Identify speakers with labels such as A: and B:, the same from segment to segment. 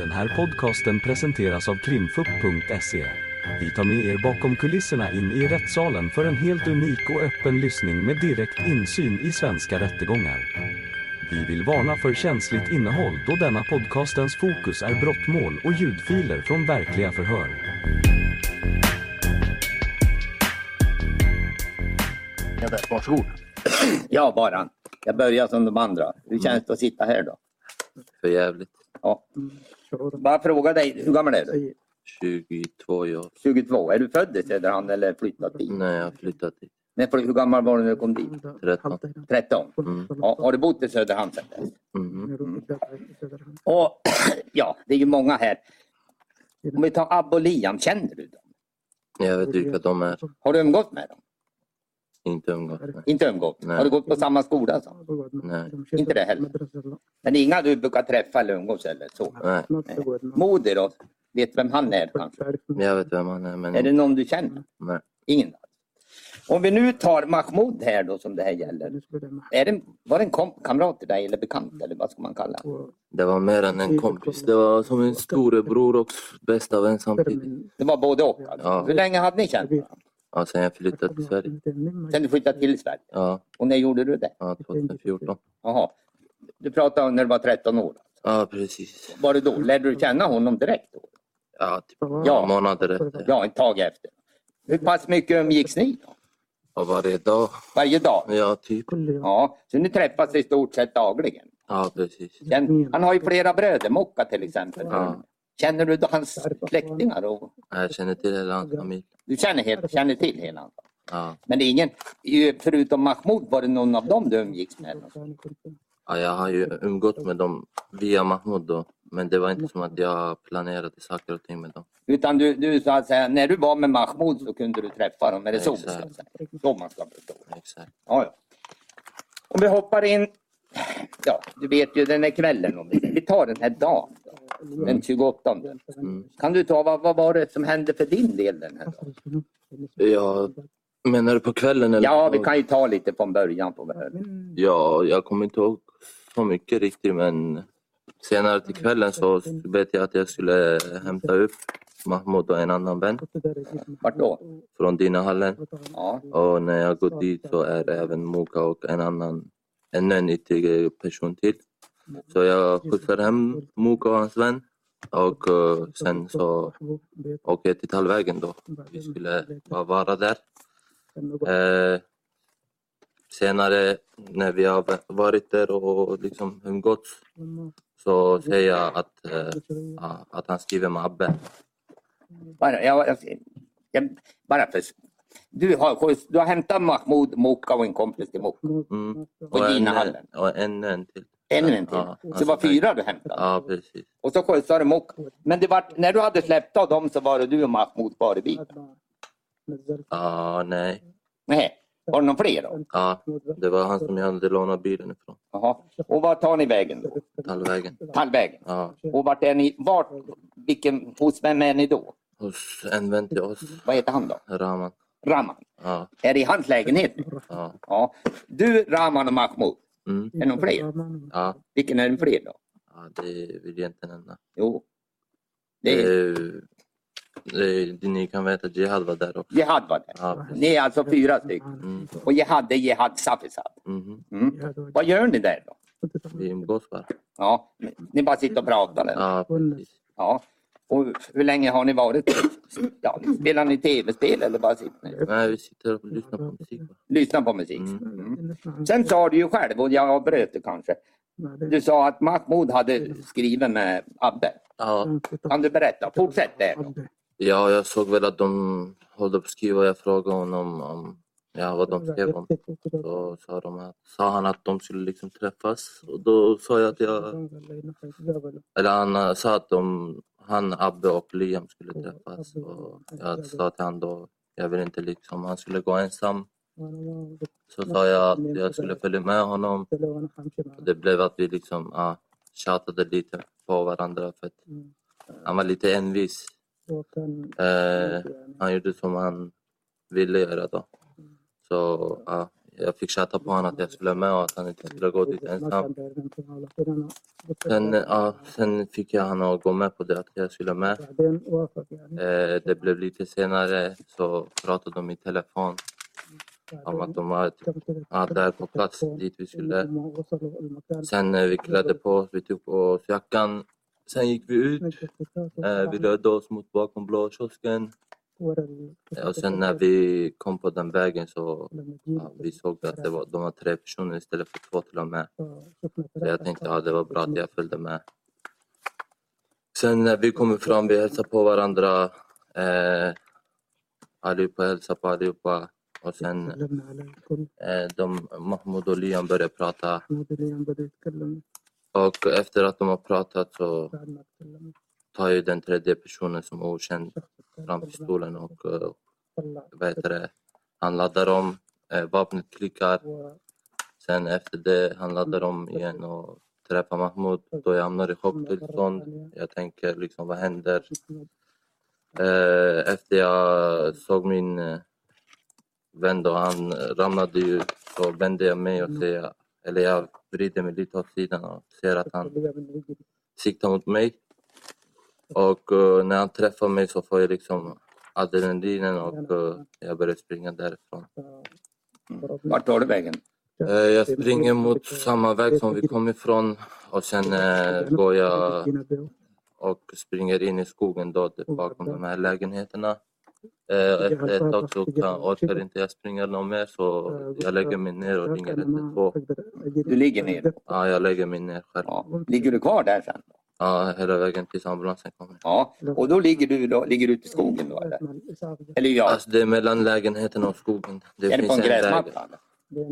A: Den här podcasten presenteras av krimfupp.se. Vi tar med er bakom kulisserna in i rättssalen för en helt unik och öppen lyssning med direkt insyn i svenska rättegångar. Vi vill varna för känsligt innehåll då denna podcastens fokus är brottmål och ljudfiler från verkliga förhör.
B: Ja, väl, Varsågod.
C: Ja, bara. Jag börjar som de andra.
D: Mm.
C: Hur känns det att sitta här då?
D: För jävligt.
C: Ja. Bara fråga dig, hur gammal är du?
D: 22 jag.
C: 22. Är du född i Söderhamn eller flyttat dit?
D: Nej, jag har flyttat hit.
C: Nej, för hur gammal var du när du kom
D: Mm.
C: dit?
D: 13.
C: 13.
D: Mm.
C: Ja, har du bott i Söderhamn sedan dess?
D: Mhm.
C: Och ja, det är ju många här. Om vi tar Abbe och Liam, känner du dem?
D: Jag vet ju vilka de är.
C: Har du umgått med dem?
D: Inte umgås med.
C: Inte umgått?
D: Nej.
C: Har du gått på samma skola? Så?
D: Nej.
C: Inte det heller? Men inga du brukar träffa eller umgås eller så?
D: Nej.
C: Modi då? Vet du vem han är kanske?
D: Men Jag vet vem han är, men
C: Är det
D: inte.
C: någon du känner?
D: Mm. Nej.
C: Ingen alls. Om vi nu tar Mahmoud här då som det här gäller. Är det, var det en kom, kamrat till dig eller bekant eller vad ska man kalla det?
D: Det var mer än en kompis. Det var som en storebror och bästa vän samtidigt.
C: Det var både och alltså.
D: Ja.
C: Hur länge hade ni känt varandra?
D: Ja, sen jag flyttade till Sverige.
C: Sen du flyttade till Sverige?
D: Ja,
C: Och när gjorde du det?
D: ja 2014.
C: Jaha. Du pratade om när du var 13 år.
D: Ja, precis.
C: Var det då? Lärde du känna honom direkt då?
D: Ja, typ
C: Ja.
D: några månader efter.
C: Ja, ett tag efter. Hur pass mycket umgicks ni då?
D: Och varje dag.
C: Varje dag?
D: Ja, typ.
C: Ja, så ni träffas i stort sett dagligen.
D: Ja, precis.
E: Mm.
C: Känn- Han har ju flera bröder, Mocka till exempel.
D: Ja,
C: Känner du då hans släktingar? Och,
D: jag känner till hela hans familj.
C: du känner, helt, känner till hela hans?
D: Ja.
C: Men det är ingen, ju- förutom Mahmoud, var det någon av dem du umgicks med?
D: Ja, jag har ju umgått med dem via Mahmoud då. Men det var
C: Mm.
D: inte som att jag planerade saker och ting med dem.
C: Utan du, du så att säga, när du var med Mahmoud så kunde du träffa dem. Är det så du ska säga?
D: Exakt.
C: Så man ska förstå.
D: Exakt.
C: Ja, ja. Om vi hoppar in, ja, du vet ju den här kvällen. Om vi, vi tar den här dagen, då, den 28.
D: Mm.
C: Kan du ta, vad, vad var det som hände för din del den här dagen?
D: Ja, menar du på kvällen? Eller?
C: Ja, vi kan ju ta lite från början. På det här.
D: ja, jag kommer inte ihåg så mycket riktigt men senare till kvällen så vet jag att jag skulle hämta upp Mahmoud och en annan vän
C: Vart då?
D: från Dinahallen.
C: Ja,
D: Och när jag går dit så är det även Moka och en annan, en nyttig person till. Så jag skjutsar hem Moka och hans vän och eh, sen så åker jag till Tallvägen då. Vi skulle bara vara där. Eh, senare när vi har varit där och liksom umgåtts så säger jag att, eh, ja, att han skriver med Abbe.
C: bara, jag, jag, jag, bara för... Du har, skjuts- du har hämtat Mahmoud, Mokka och en kompis till Mokka.
D: Mm.
C: På
D: en-
C: Dinahallen?
D: Och en, en till.
C: Ännu en till.
D: Ja,
C: Så det var
D: alltså,
C: fyra du hämtade.
D: Ja, precis.
C: Och så skjutsade du Mokka. Men det var, när du hade släppt av dem så var det du och Mahmoud kvar i
E: Mm.
C: bilen.
D: Ja, nej.
C: Nej, var det någon fler då?
D: Ja, det var han som jag hade lånat bilen ifrån.
C: Jaha. Och var tar ni vägen då?
D: Tallvägen.
C: Tallvägen?
D: Ja,
E: Mm.
C: Och vart är ni? Vart, vilken, hos vem är ni då?
D: hos en vän till oss,
C: Vad heter han då?
D: Rahman.
C: Rahman?
D: Ja,
C: Är det i hans lägenhet?
D: ja.
C: Ja. Du, Rahman och Mahmoud.
D: Mm.
C: Är det någon fler?
D: ja.
C: Vilken är den fler då?
D: ja det vill jag inte nämna.
C: Jo. Det är,
D: Det, det, ni kan veta att Jihad var där också.
C: Jihad var det.
D: Ja, precis.
C: Ni är alltså fyra stycken.
D: Mm.
C: Och Jihad det är Jihad Safisad.
D: Mhm.
C: Mm. Vad gör ni där då?
D: Vi umgås bara.
C: Ja, ni bara sitter och pratar eller?
D: Ja, precis.
C: Ja. Och hur länge har ni varit ja, Spelar ni tv-spel eller bara sitter ni?
D: Nej, vi sitter och lyssnar på musik. bara.
C: Lyssnar på musik?
D: Mm.
C: Mm. Sen sa du ju själv, och jag avbröt det kanske. Du sa att Mahmoud hade skrivit med Abbe.
D: Ja,
C: Kan du berätta? Fortsätt där då.
D: ja, jag såg väl att de håller på att skriva. Jag frågade honom om, ja, vad de skrev om. Då sa, de att, sa han att de skulle liksom träffas. Och då sa jag att jag... Eller han eh, sa att de, han, Abbe och Liam skulle träffas. Och jag sa till han då, jag vill inte liksom, han skulle gå ensam. Så sa jag att jag skulle följa med honom. Det blev att vi liksom ja, tjatade lite på varandra för att han var lite envis. Eh, han gjorde som han ville göra då. Så ja, Jag fick tjata på honom att jag skulle med och att han inte skulle gå dit ensam. Sen, ja, sen fick jag honom att gå med på det, att jag skulle med. Eh, det blev lite senare så pratade de i telefon om att de var typ, ja, där på plats dit vi skulle. Sen eh, vi klädde på oss, vi tog på oss jackan. Sen gick vi ut. Eh, vi rörde oss mot bakom blå kiosken. Eh, och sen när vi kom på den vägen så ja, vi såg att det var, de var tre personer istället för två till och med. Så jag tänkte att ja, det var bra att jag följde med. Sen när vi kommer fram, vi hälsar på varandra. Eh, allihopa hälsar på allihopa. Och sen eh, de, Mahmoud och Liam börjar prata. Och efter att de har pratat så tar ju den tredje personen som är okänd fram pistolen och eh, vad heter det? han laddar om. Eh, vapnet klickar. Sen efter det han laddar om igen och träffar Mahmoud. Då jag hamnar i chocktillstånd. Jag tänker liksom vad händer? Eh, efter jag såg min eh, vän då, han ramlade ju. Så vände jag mig och ser, eller jag vrider mig lite åt sidan och ser att han siktar mot mig. Och eh, när han träffar mig så får jag liksom adrenalinen och eh, jag börjar springa därifrån.
C: Mm. Vart tar du vägen?
D: Eh, Jag springer mot samma väg som vi kom ifrån och sen eh, går jag och springer in i skogen då där bakom de här lägenheterna. Eh, och efter ett tag så kan, orkar inte jag springa någon mer så jag lägger mig ner och ringer 112.
C: Du ligger ner.
D: Ja, jag lägger mig ner själv.
C: Ja. Ligger du kvar där sen?
D: Ja, hela vägen tills ambulansen kommer.
C: Ja, och då ligger du, då, ligger du ute i skogen då eller? Eller ja,
D: Alltså det är mellan lägenheten och skogen. Det
C: är det på en
D: väg.
C: gräsmatta? eller?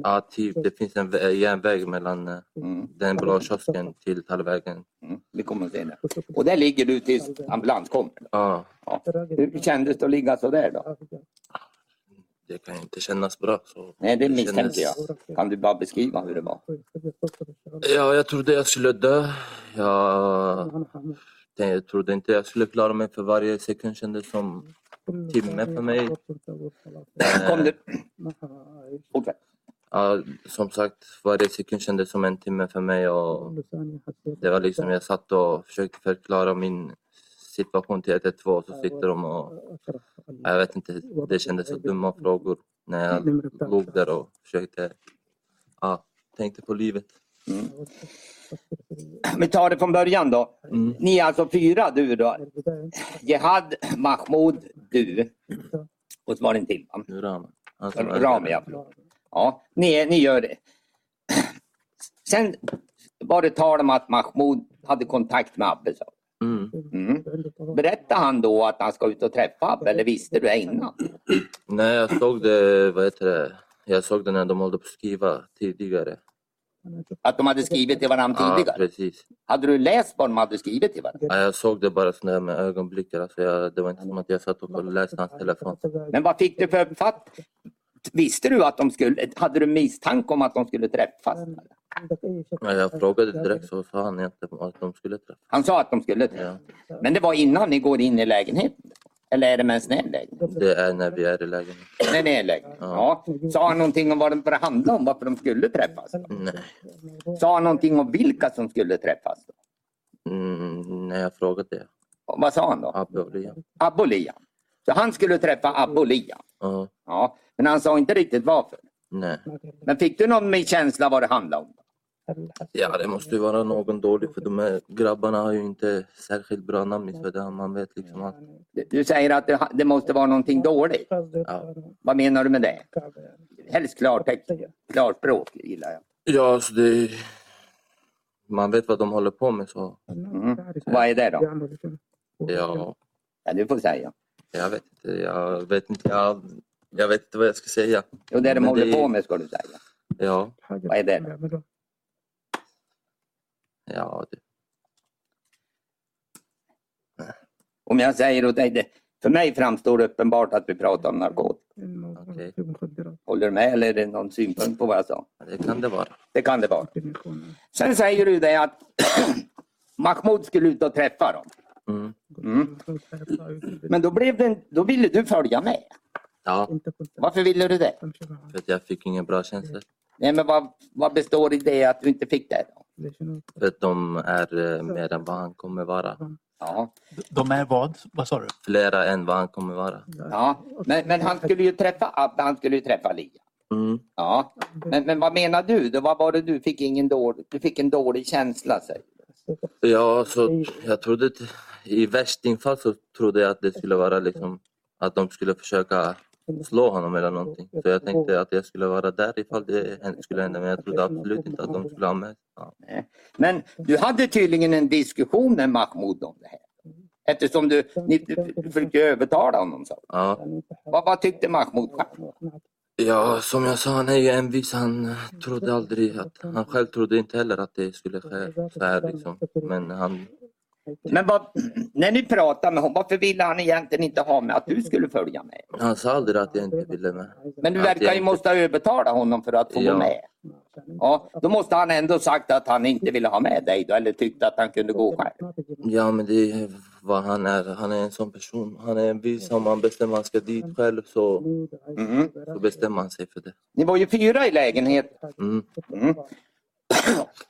D: Ja, typ. Det finns en vä- järnväg mellan eh,
C: Mm.
D: den blå kiosken till Tallvägen.
C: Mm. Vi kommer att se det. Och där ligger du tills ambulans kommer? då?
D: Ja,
C: Ja. Hur kändes det att ligga så där då?
D: det kan ju inte kännas bra. Så
C: Nej, det
D: kändes-
C: misstänkte jag. Kan du bara beskriva hur det var?
D: Ja, jag trodde jag skulle dö. Jag, jag trodde inte jag skulle klara mig för varje sekund kändes som timme för mig. Eh,
C: Kom du... Fortsätt.
D: Ja, som sagt, varje sekund kändes som en timme för mig. Och det var liksom, jag satt och försökte förklara min situation till 112 och så sitter de och Ja, Jag vet inte, det kändes så dumma frågor när jag låg där och försökte... Ja, tänkte på livet.
C: Vi tar det från början då.
D: Mm.
C: Ni är alltså fyra du då. Jihad, Mahmoud, du och så var det en till. va?
D: Nu alltså- Rami. Han som är-
C: Rami, ja. förlåt. ja ni, ni gör det. Sen var det tal om att Mahmoud hade kontakt med Abbe. sa
D: Mm.
C: du. Mm. Berättade han då att han ska ut och träffa Abbe eller visste du det innan?
D: Nej, jag såg det, vad heter det? Jag såg det när de håller på att skriva tidigare.
C: Att de hade skrivit till varandra
D: Ja,
C: tidigare?
D: precis.
C: Hade du läst vad de hade skrivit till varandra?
D: Ja, jag såg det bara sådär med ögonblickar. Alltså jag, det var inte som att jag satt och läste hans telefon.
C: Men vad fick du för uppfattning? Visste du att de skulle, hade du misstanke om att de skulle träffas?
D: Ja, jag frågade direkt så sa han inte att de skulle träffas.
C: Han sa att de skulle
D: Ja,
C: träffas. Men det var innan ni går in i lägenheten? Eller är det med en snäll lägenhet?
D: det är när vi är i lägenheten.
C: När ni är i lägenheten? Ja. Sa han någonting om vad de förhandlade om, varför de skulle träffas?
D: Nej.
C: Sa han någonting om vilka som skulle träffas? Då?
D: Mm, nej, jag frågade det.
C: Och Vad sa han då?
D: Abbe och Liam.
C: Abbe och Liam. Så han skulle träffa Abbe och Liam.
D: Ja,
C: Ja. Men han sa inte riktigt varför.
D: nej.
C: Men fick du någon känsla vad det handlade om?
D: Ja, det måste ju vara någon dålig för de här grabbarna har ju inte särskilt bra namn i Sverige. Man vet liksom att...
C: Du- Du säger att det, det måste vara någonting dåligt.
D: Ja,
C: Vad menar du med det? Helst klartext. Klarspråk gillar jag.
D: ja så det... Man vet vad de håller på med så...
C: Mm. Vad är det då?
D: Ja,
C: Ja, du får säga.
D: jag vet inte. Jag vet inte, jag, jag vet inte vad jag ska säga.
C: Jo, det de
D: Men
C: håller på med ska du säga.
D: Ja,
C: Vad är det då?
D: ja. Det,
C: Om jag säger åt dig, det, för mig framstår det uppenbart att vi pratar om narkotika.
D: okej.
C: Håller du med eller är det någon synpunkt på vad jag sa?
D: Det kan det vara.
C: Det kan det vara. Sen säger du det att Mahmoud skulle ut och träffa dem.
D: Mm.
C: Men då, blev det en, då ville du följa med.
D: Ja,
C: Varför ville du det?
D: för att jag fick ingen bra känsla.
C: Nej, men vad, vad består i det att du inte fick det? Då?
D: För att de är eh, mer än vad han kommer vara.
C: Ja.
F: De är vad? Vad sa du?
D: Flera än vad han kommer vara.
C: ja. Men, men han skulle ju träffa Abbe, han skulle ju träffa Lia.
D: Mm.
C: Ja. Men, men vad menar du? Då? Vad var det du fick? Ingen dålig, du fick en dålig känsla, säger du.
D: Ja, så jag trodde att, i värstingfall så trodde jag att det skulle vara liksom att de skulle försöka slå honom eller någonting. Så jag tänkte att jag skulle vara där ifall det hän- skulle hända men jag trodde absolut inte att de skulle ha med. Ja.
C: Men du hade tydligen en diskussion med Mahmoud om det här. Eftersom du, ni, du, du försökte övertala honom. Så.
D: Ja.
C: Vad, vad tyckte Mahmoud själv?
D: ja, som jag sa, han är ju envis. Han trodde aldrig att... Han själv trodde inte heller att det skulle ske så här liksom. Men han...
C: Men vad, när ni pratade med honom, varför ville han egentligen inte ha med att du skulle följa med?
D: Han sa aldrig att jag inte ville med.
C: Men du
D: Att jag
C: verkar ju
D: inte-
C: måste ha övertalat honom för att få
D: Ja.
C: gå med. Ja, då måste han ändå sagt att han inte ville ha med dig då, eller tyckte att han kunde gå själv.
D: Ja, men det är vad han är. Han är en sån person. Han är envis. Om han bestämmer att han ska dit själv så,
C: Mhm.
D: så bestämmer han sig för det.
C: Ni var ju fyra i lägenheten.
D: Mm.
C: Mm.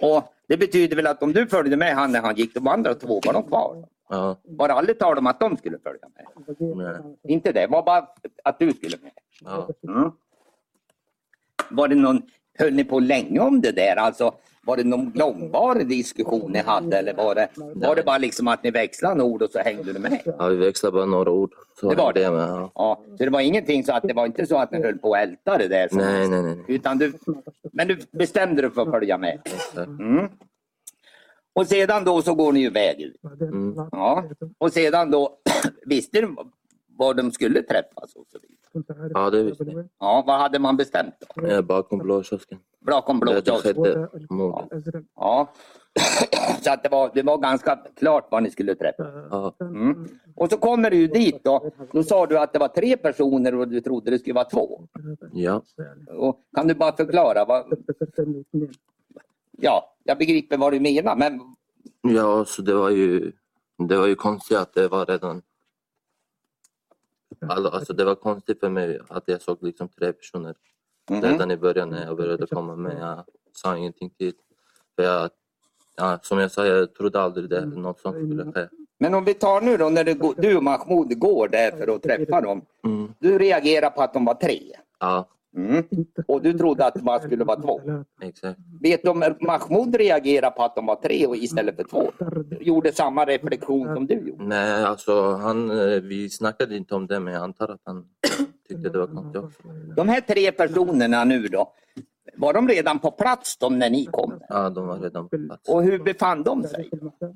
C: Och det betyder väl att om du följde med han när han gick, de andra två var de kvar.
D: Ja,
C: Var det aldrig tal om att de skulle följa med?
D: nej,
C: Inte det, var bara att du skulle med.
D: ja.
C: Mm. Var det någon, höll ni på länge om det där? Alltså, var det någon långvarig diskussion ni hade eller var det, var det bara liksom att ni växlade några ord och så hängde du med?
D: ja vi växlar bara några ord. Så
C: Det var
D: är med. Ja.
C: Ja, så det var ingenting så att det var inte så att ni höll på och ältade där? som-
D: Nej, nej, nej. nej.
C: Utan du, men du bestämde dig för att följa med?
D: Exakt.
C: Mm. Och sedan då så går ni ju väg ut.
D: Mm.
C: Ja. Och sedan då visste du var de skulle träffas och så vidare.
D: Ja, det visste jag.
C: Ja, vad hade man bestämt då?
D: Jag är bakom blå kiosken.
C: Bakom
D: Det
C: blåsa
D: det
C: och
D: skedde mordet.
C: Ja, så att det var, det var ganska klart vad ni skulle träffa.
D: Ja,
C: Mm. Och så kommer du ju dit då. Då sa du att det var tre personer och du trodde det skulle vara två.
D: ja.
C: Och kan du bara förklara? Vad... Ja, jag begriper vad du menar men
D: ja så det var ju... Det var ju konstigt att det var redan... All- Alltså det var konstigt för mig att jag såg liksom tre personer
C: mhm.
D: redan i början när jag började komma med. Jag sa ingenting till. För jag, ja, som jag sa, jag trodde aldrig det var något som skulle ske.
C: Men om vi tar nu då när det går, du och Mahmoud går där för att träffa dem.
D: Mm.
C: Du reagerar på att de var tre.
D: Ja,
C: Mm. Och du trodde att det bara skulle vara två.
D: exakt.
C: Vet du om Mahmoud reagerar på att de var tre och istället för två? Gjorde samma reflektion som du gjorde?
D: Nej, alltså han, eh, vi snackade inte om det men jag antar att han tyckte det var konstigt
E: Mm.
D: också.
C: De här tre personerna nu då, var de redan på plats de när ni kom?
D: Ja, de var redan på plats.
C: Och hur befann de sig?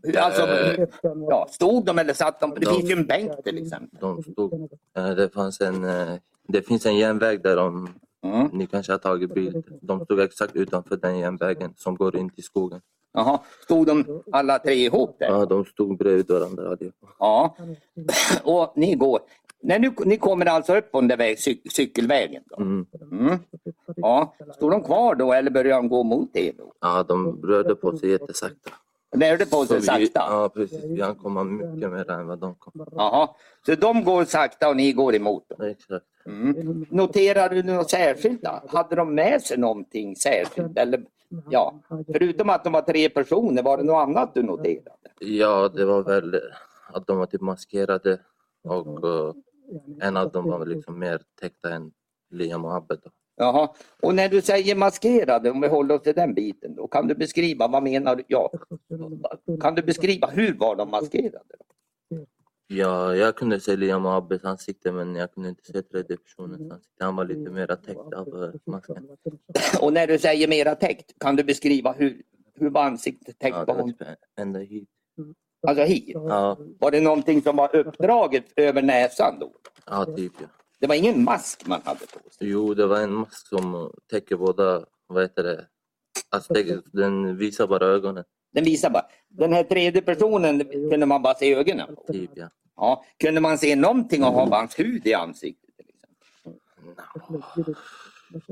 C: Hur- Alltså,
D: Eh.
C: ja, stod de eller satt de? Det
D: De-
C: finns ju en bänk till exempel.
D: De stod. eh, Det, fanns en, eh, det finns en järnväg där de,
C: Mm.
D: ni kanske har tagit bild. De stod exakt utanför den järnvägen som går in till skogen.
C: Jaha. Stod de alla tre ihop där?
D: Ja, de stod bredvid varandra allihopa.
C: Ja. Och ni går. När nu, ni kommer alltså upp på den där väg, cy, cykelvägen? Då.
D: Mm.
C: Mm. Ja. Stod de kvar då eller började de gå mot er? Då?
D: Ja, de rörde på sig jättesakta.
C: Rörde på sig
D: vi-
C: sakta?
D: Ja, precis. Vi hann komma mycket mer än vad de kom.
C: Jaha. Så de går sakta och ni går emot dem?
D: Exakt.
C: Mm. Noterar du något särskilt? Då? Hade de med sig någonting särskilt? Eller, ja, förutom att de var tre personer, var det något annat du noterade?
D: Ja, det var väl eh, att de var typ maskerade och eh, en av dem var väl liksom mer täckta än Liam och Abbe. Då.
C: Jaha. Och när du säger maskerade, om vi håller oss till den biten, då kan du beskriva, vad menar du? Ja. Kan du beskriva, hur var de maskerade? då?
D: Ja, jag kunde se Liam och Abbes ansikte men jag kunde inte se tredje personens ansikte. Han Mm. var lite mer täckt av eh, masken.
C: Och när du säger mera täckt, kan du beskriva hur, hur var ansiktet täckt?
D: Ja, det
C: på
D: var
C: honom?
D: typ ända hit.
C: Alltså hit?
D: Ja,
C: Var det någonting som var uppdraget över näsan då?
D: ja typ ja.
C: Det var ingen mask man hade på sig?
D: Jo, det var en mask som täcker båda, vad heter det? Alltså, täcker- den visar bara ögonen.
C: Den visar bara. Den här tredje personen kunde man bara se ögonen på.
D: Typ ja.
C: Ja, kunde man se någonting av hans hud i ansiktet? till exempel?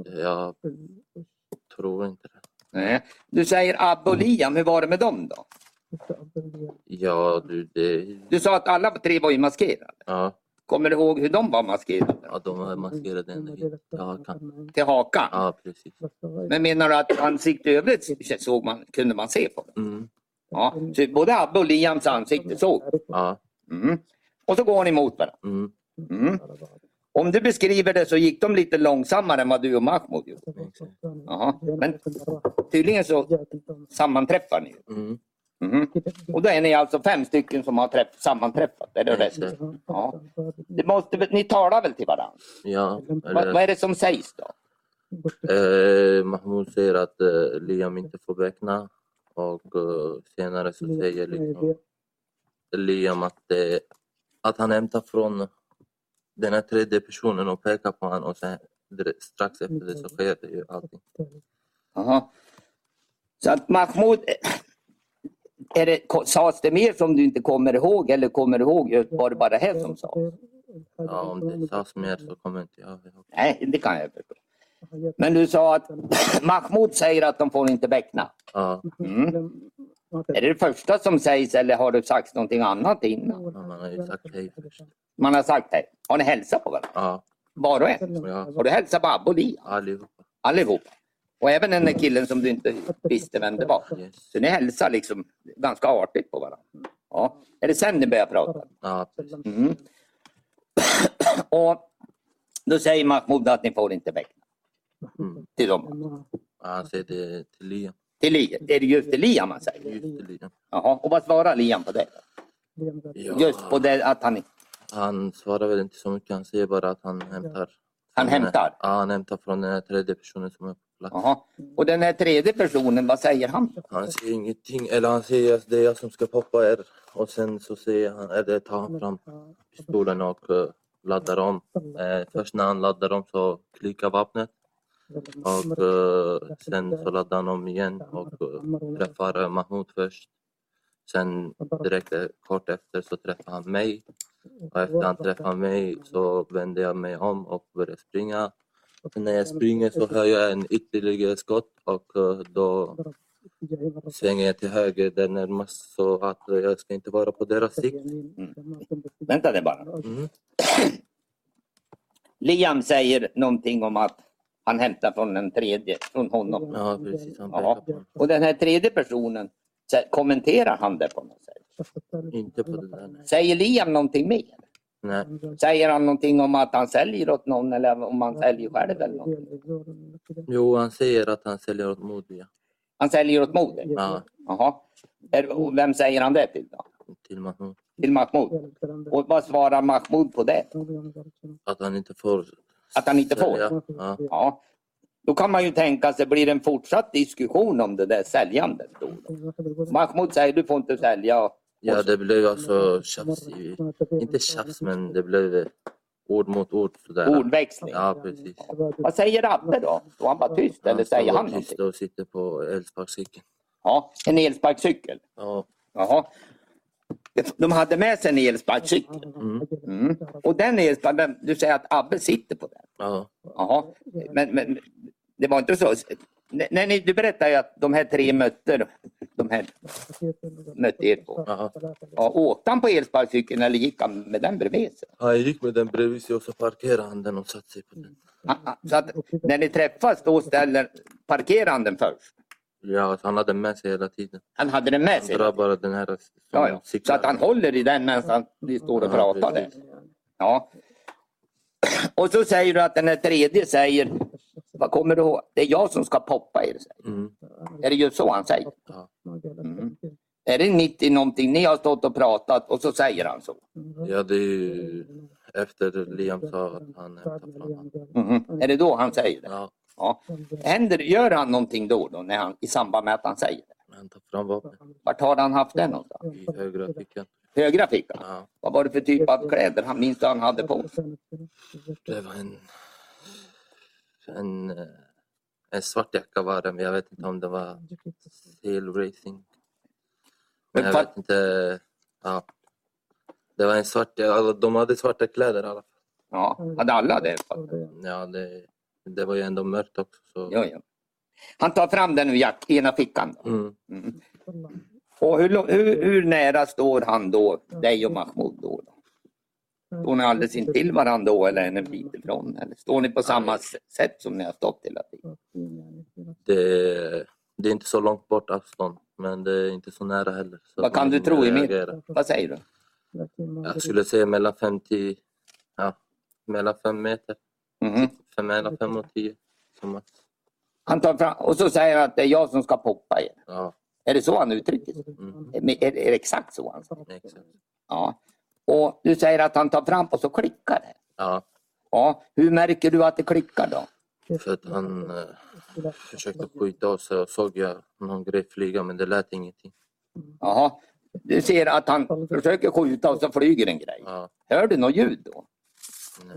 D: Jag tror inte det.
C: Nej. Du säger Abbe och Liam, hur var det med dem då?
D: Ja, du, det...
C: Du sa att alla tre var ju maskerade.
D: Ja,
C: Kommer du ihåg hur de var maskerade?
D: Ja, de var maskerade ända hit. Ja, kan.
C: Till hakan?
D: ja precis.
C: Men menar du att ansikte i övrigt såg man, kunde man se på dem?
D: Mm.
C: Ja, så både Abbe och Liams ansikte såg.
D: Ja.
C: Mm. Och så går ni mot varandra.
D: Mm.
C: Mm. Om du beskriver det så gick de lite långsammare än vad du och Mahmoud gjorde. Jaha. Men tydligen så sammanträffar ni.
D: Mm.
C: Mm. Och då är ni alltså fem stycken som har träff- sammanträffat, är det rätt?
D: Exakt.
C: Ja. Det måste, väl- ni talar väl till varandra?
D: Ja.
C: Vad, vad
D: Eller,
C: är det som sägs då?
D: eh, Mahmoud säger att eh, Liam inte får räkna och eh, senare så säger liksom, Liam att, eh, att han hämtar från den här tredje personen och pekar på honom och sen direkt- strax efter det så sker det ju allting.
C: Jaha. Så att Mahmoud, eh, är det, ko- sades det mer som du inte kommer ihåg eller kommer du ihåg? just- Var det bara det här som sades?
D: Ja, om det sades mer så kommer inte jag ihåg.
C: Nej, det kan jag förstå. Men du sa att Mahmoud säger att de får inte väckna.
D: Ja,
C: Mm. Är det det första som sägs eller har du sagt någonting annat innan?
D: men man har ju sagt hej först.
C: Man har sagt hej. Har ni hälsat på varandra?
D: Ja,
C: Var och en?
D: ja,
C: Har du hälsat på Abbe och Lia?
D: allihopa.
C: Allihopa? Och även den där killen som du inte visste vem det var?
D: Yes.
C: Så ni hälsar liksom ganska artigt på varandra. Ja. Är det sen ni börjar prata?
D: Ja, precis.
C: Mm. Och då säger Mahmoud att ni får inte väckna
D: Mm.
C: till dem.
D: Ja, Han säger det till Liam.
C: Till Lia. Är det just till Lia man säger?
D: Just till Liam.
C: Jaha. Och vad svarar Liam på det?
D: Ja.
C: Just på det att han,
D: Han svarar väl inte så mycket. Han säger bara att han hämtar.
C: han hämtar?
D: Ja, han hämtar från den här tredje personen som är på plats.
C: Jaha. Och den här tredje personen, vad säger han?
D: Han säger ingenting. Eller han säger att det är jag som ska poppa er. Och sen så säger han, eller tar han fram pistolen och eh, laddar om. Eh, först när han laddar om så klickar vapnet. Och eh, sen så laddar han om igen och eh, träffar eh, Mahmoud först. Sen direkt eh, kort efter så träffar han mig. Och efter han träffar mig så vänder jag mig om och börjar springa. Och när jag springer så hör jag en ytterligare skott och eh, då svänger jag till höger där närmast så att eh, jag ska inte vara på deras sikt.
C: Mm. Vänta det bara.
D: Mm.
C: Liam säger någonting om att han hämtar från den tredje, från honom.
D: Ja, precis. Han pekar
C: Jaha.
D: på honom.
C: Och den här tredje personen, så här, kommenterar han det på något sätt?
D: Inte på det där. nej.
C: Säger Liam någonting mer?
D: Nej.
C: Säger han någonting om att han säljer åt någon eller om han säljer själv eller något?
D: Jo, han säger att han säljer åt Modia.
C: Han säljer åt moder?
D: Ja,
C: Jaha. Är- och Vem säger han det till då?
D: till Mahmoud.
C: Till Mahmoud? Och vad svarar Mahmoud på det?
D: Att han inte får.
C: Att han inte får?
D: sälja. Ja. ah.
C: Ja. Då kan man ju tänka sig, blir det en fortsatt diskussion om det där säljandet? Då? Mahmoud säger du får inte sälja.
D: ja, det blev alltså tjafs. I, inte tjafs, men det blev eh, ord mot ord. Sådär.
C: Ordväxling.
D: Ja, precis.
C: Vad säger Abbe då? Står han bara tyst eller säger han
D: någonting?
C: någonting?
D: Han och sitter på elsparkcykeln.
C: Ja, en elsparkcykel.
D: Ja,
C: Jaha. De hade med sig en elsparkcykel.
D: mm,
C: Mm. Och den elsparkcykeln, du säger att Abbe sitter på den.
D: ja,
C: Jaha. Men, men det var inte så. N- när ni, du berättade ju att de här tre mötte, de här mötte er två.
D: ja.
C: Ja, åkte han på elsparkcykeln eller gick han med den bredvid sig?
D: Han gick med den bredvid sig och så parkerade han den och satte sig på den.
C: Ah, ah, Så att när ni träffas då ställer parkerar han den först.
D: Ja, så han hade den med sig hela tiden.
C: Han hade den med
D: Han
C: sig.
D: drar bara den här som
C: Ja, ja. Så
D: cyklar.
C: att han håller i den medan han- ni står och pratar där. Ja. Och så säger du att den här tredje säger, vad kommer du ihåg? Det är jag som ska poppa er. säger
D: Mm,
C: han. Är det ju så han säger?
D: ja.
C: Mm. Är det mitt i någonting, ni har stått och pratat och så säger han så?
D: ja, det är ju efter Liam sa att han hämtade från honom.
C: Mhm. Är det då han säger det?
D: Ja,
C: Ja. Händer, gör han någonting då, då när han, i samband med att han säger det?
D: han tar fram vapnet
C: Vart har han haft den någonstans?
D: i högra fickan.
C: Högra fickan?
D: Ja,
C: Vad var det för typ av kläder han minns han hade på sig?
D: det var en... En, eh, en svart jacka var det, men jag vet inte om det var Sail Racing.
C: Men
D: Men jag
C: fatt-
D: vet inte. Ja. Det var en svart, alla- de hade svarta kläder i alla fall.
C: Ja, hade alla det?
D: Ja, det, det var ju ändå mörkt också. Så.
C: Ja, ja. Han tar fram den ur jack, ena fickan. Då.
D: Mm.
C: Mm. Och hur, lo- hur, hur nära står han då, dig och Mahmoud? Då, då? Står ni alldeles intill varandra då eller en bit ifrån? Eller står ni på samma s- sätt som ni har stått hela tiden?
D: Det, det är inte så långt bort avstånd, men det är inte så nära heller. Så
C: Vad
D: att
C: kan
D: man
C: du tro, Emil?
D: reagerar.
C: Vad säger du?
D: Jag skulle säga mellan 50, ja, mellan 5 meter,
C: Mhm.
D: fem, mellan 5 och 10 som max.
C: Han tar fram, och så säger han att det är jag som ska poppa er.
D: Ja,
C: Är det så han uttrycker sig?
D: mm,
C: Men Är, är det exakt så han säger?
D: exakt.
C: Ja. Och du säger att han tar fram och så klickar det.
D: Ja,
C: Ja. Hur märker du att det klickar då?
D: för att han eh, försökte skjuta oss och såg jag någon grej flyga, men det lät ingenting.
C: Jaha. Du ser att han försöker skjuta och så flyger en grej.
D: Ja,
C: Hör du något ljud då?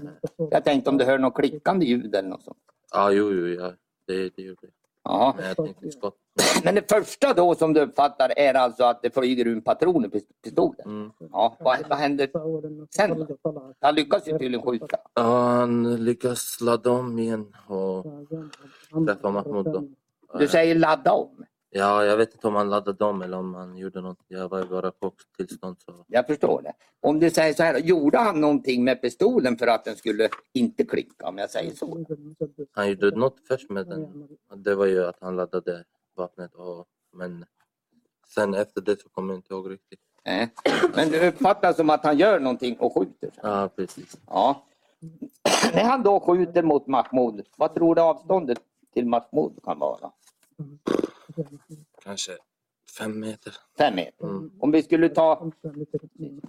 D: nej.
C: Jag tänkte om du hör något klickande ljud eller något sånt.
D: ja jo, jo, ja, det, det gjorde jag.
C: Jaha.
D: Men jag tänkte skott.
C: Men det första då som du uppfattar är alltså att det flyger ur en patron i pist- pistolen?
D: Mm.
C: Ja. Vad, vad händer?
G: sen då?
C: Han lyckas ju tydligen skjuta.
D: Ja, han lyckas ladda om igen och
G: Träffar Mahmoud då?
C: Du säger ladda om.
D: Ja, jag vet inte om han laddade om eller om han gjorde något. Jag var i bara chocktillstånd. Så...
C: Jag förstår det. Om du säger så här, gjorde han någonting med pistolen för att den skulle inte klicka? Om jag säger så.
D: Han gjorde något först med den. Det var ju att han laddade vapnet. Och... Men sen efter det så kommer jag inte ihåg riktigt.
C: Nej. Men du uppfattar som att han gör någonting och skjuter.
D: Ja, precis.
C: Ja. När han då skjuter mot Mahmoud, vad tror du avståndet till Mahmoud kan vara?
D: Kanske fem meter.
C: Fem meter.
D: Mm.
C: Om vi skulle ta,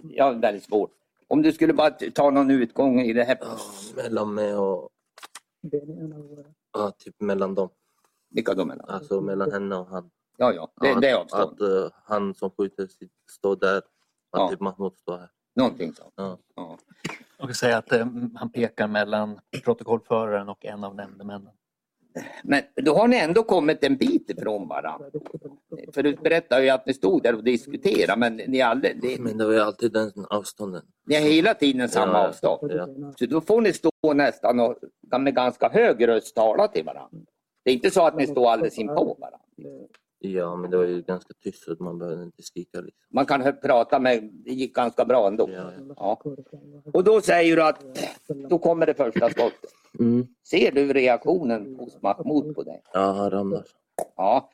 C: ja det där är svårt. Om du skulle bara ta någon utgång i det här.
D: Ja, mellan mig och... Ja, typ mellan dem.
C: Vilka de är.
D: Alltså mellan henne och han.
C: Ja, ja, Mm. det, det
D: Ja,
C: är
D: att,
C: avstånd.
D: att eh, han som skjuter sitt- står där. Att
C: Ja.
D: typ Mahmoud står här.
C: Någonting sånt.
D: Ja.
C: Ja.
F: Jag kan säga att eh, han pekar mellan protokollföraren och en av nämndemännen.
C: Men då har ni ändå kommit en bit ifrån varandra. För du berättade ju att ni stod där och diskuterade men ni, är aldrig, ni,
D: Men det var ju alltid den avstånden.
C: ni har hela tiden samma
D: Ja, ja.
C: avstånd.
D: Ja.
C: Så då får ni stå nästan och med ganska hög röst tala till varandra. Det är inte så att ni står alldeles inpå varandra.
D: Ja, men det var ju ganska tyst så att man behövde inte skrika. Liksom.
C: Man kan hö- prata men det gick ganska bra ändå.
D: Ja,
C: Ja. Och då säger du att då kommer det första skottet. Ser du reaktionen hos Mahmoud på dig?
D: ja han ramlar.
C: Ja.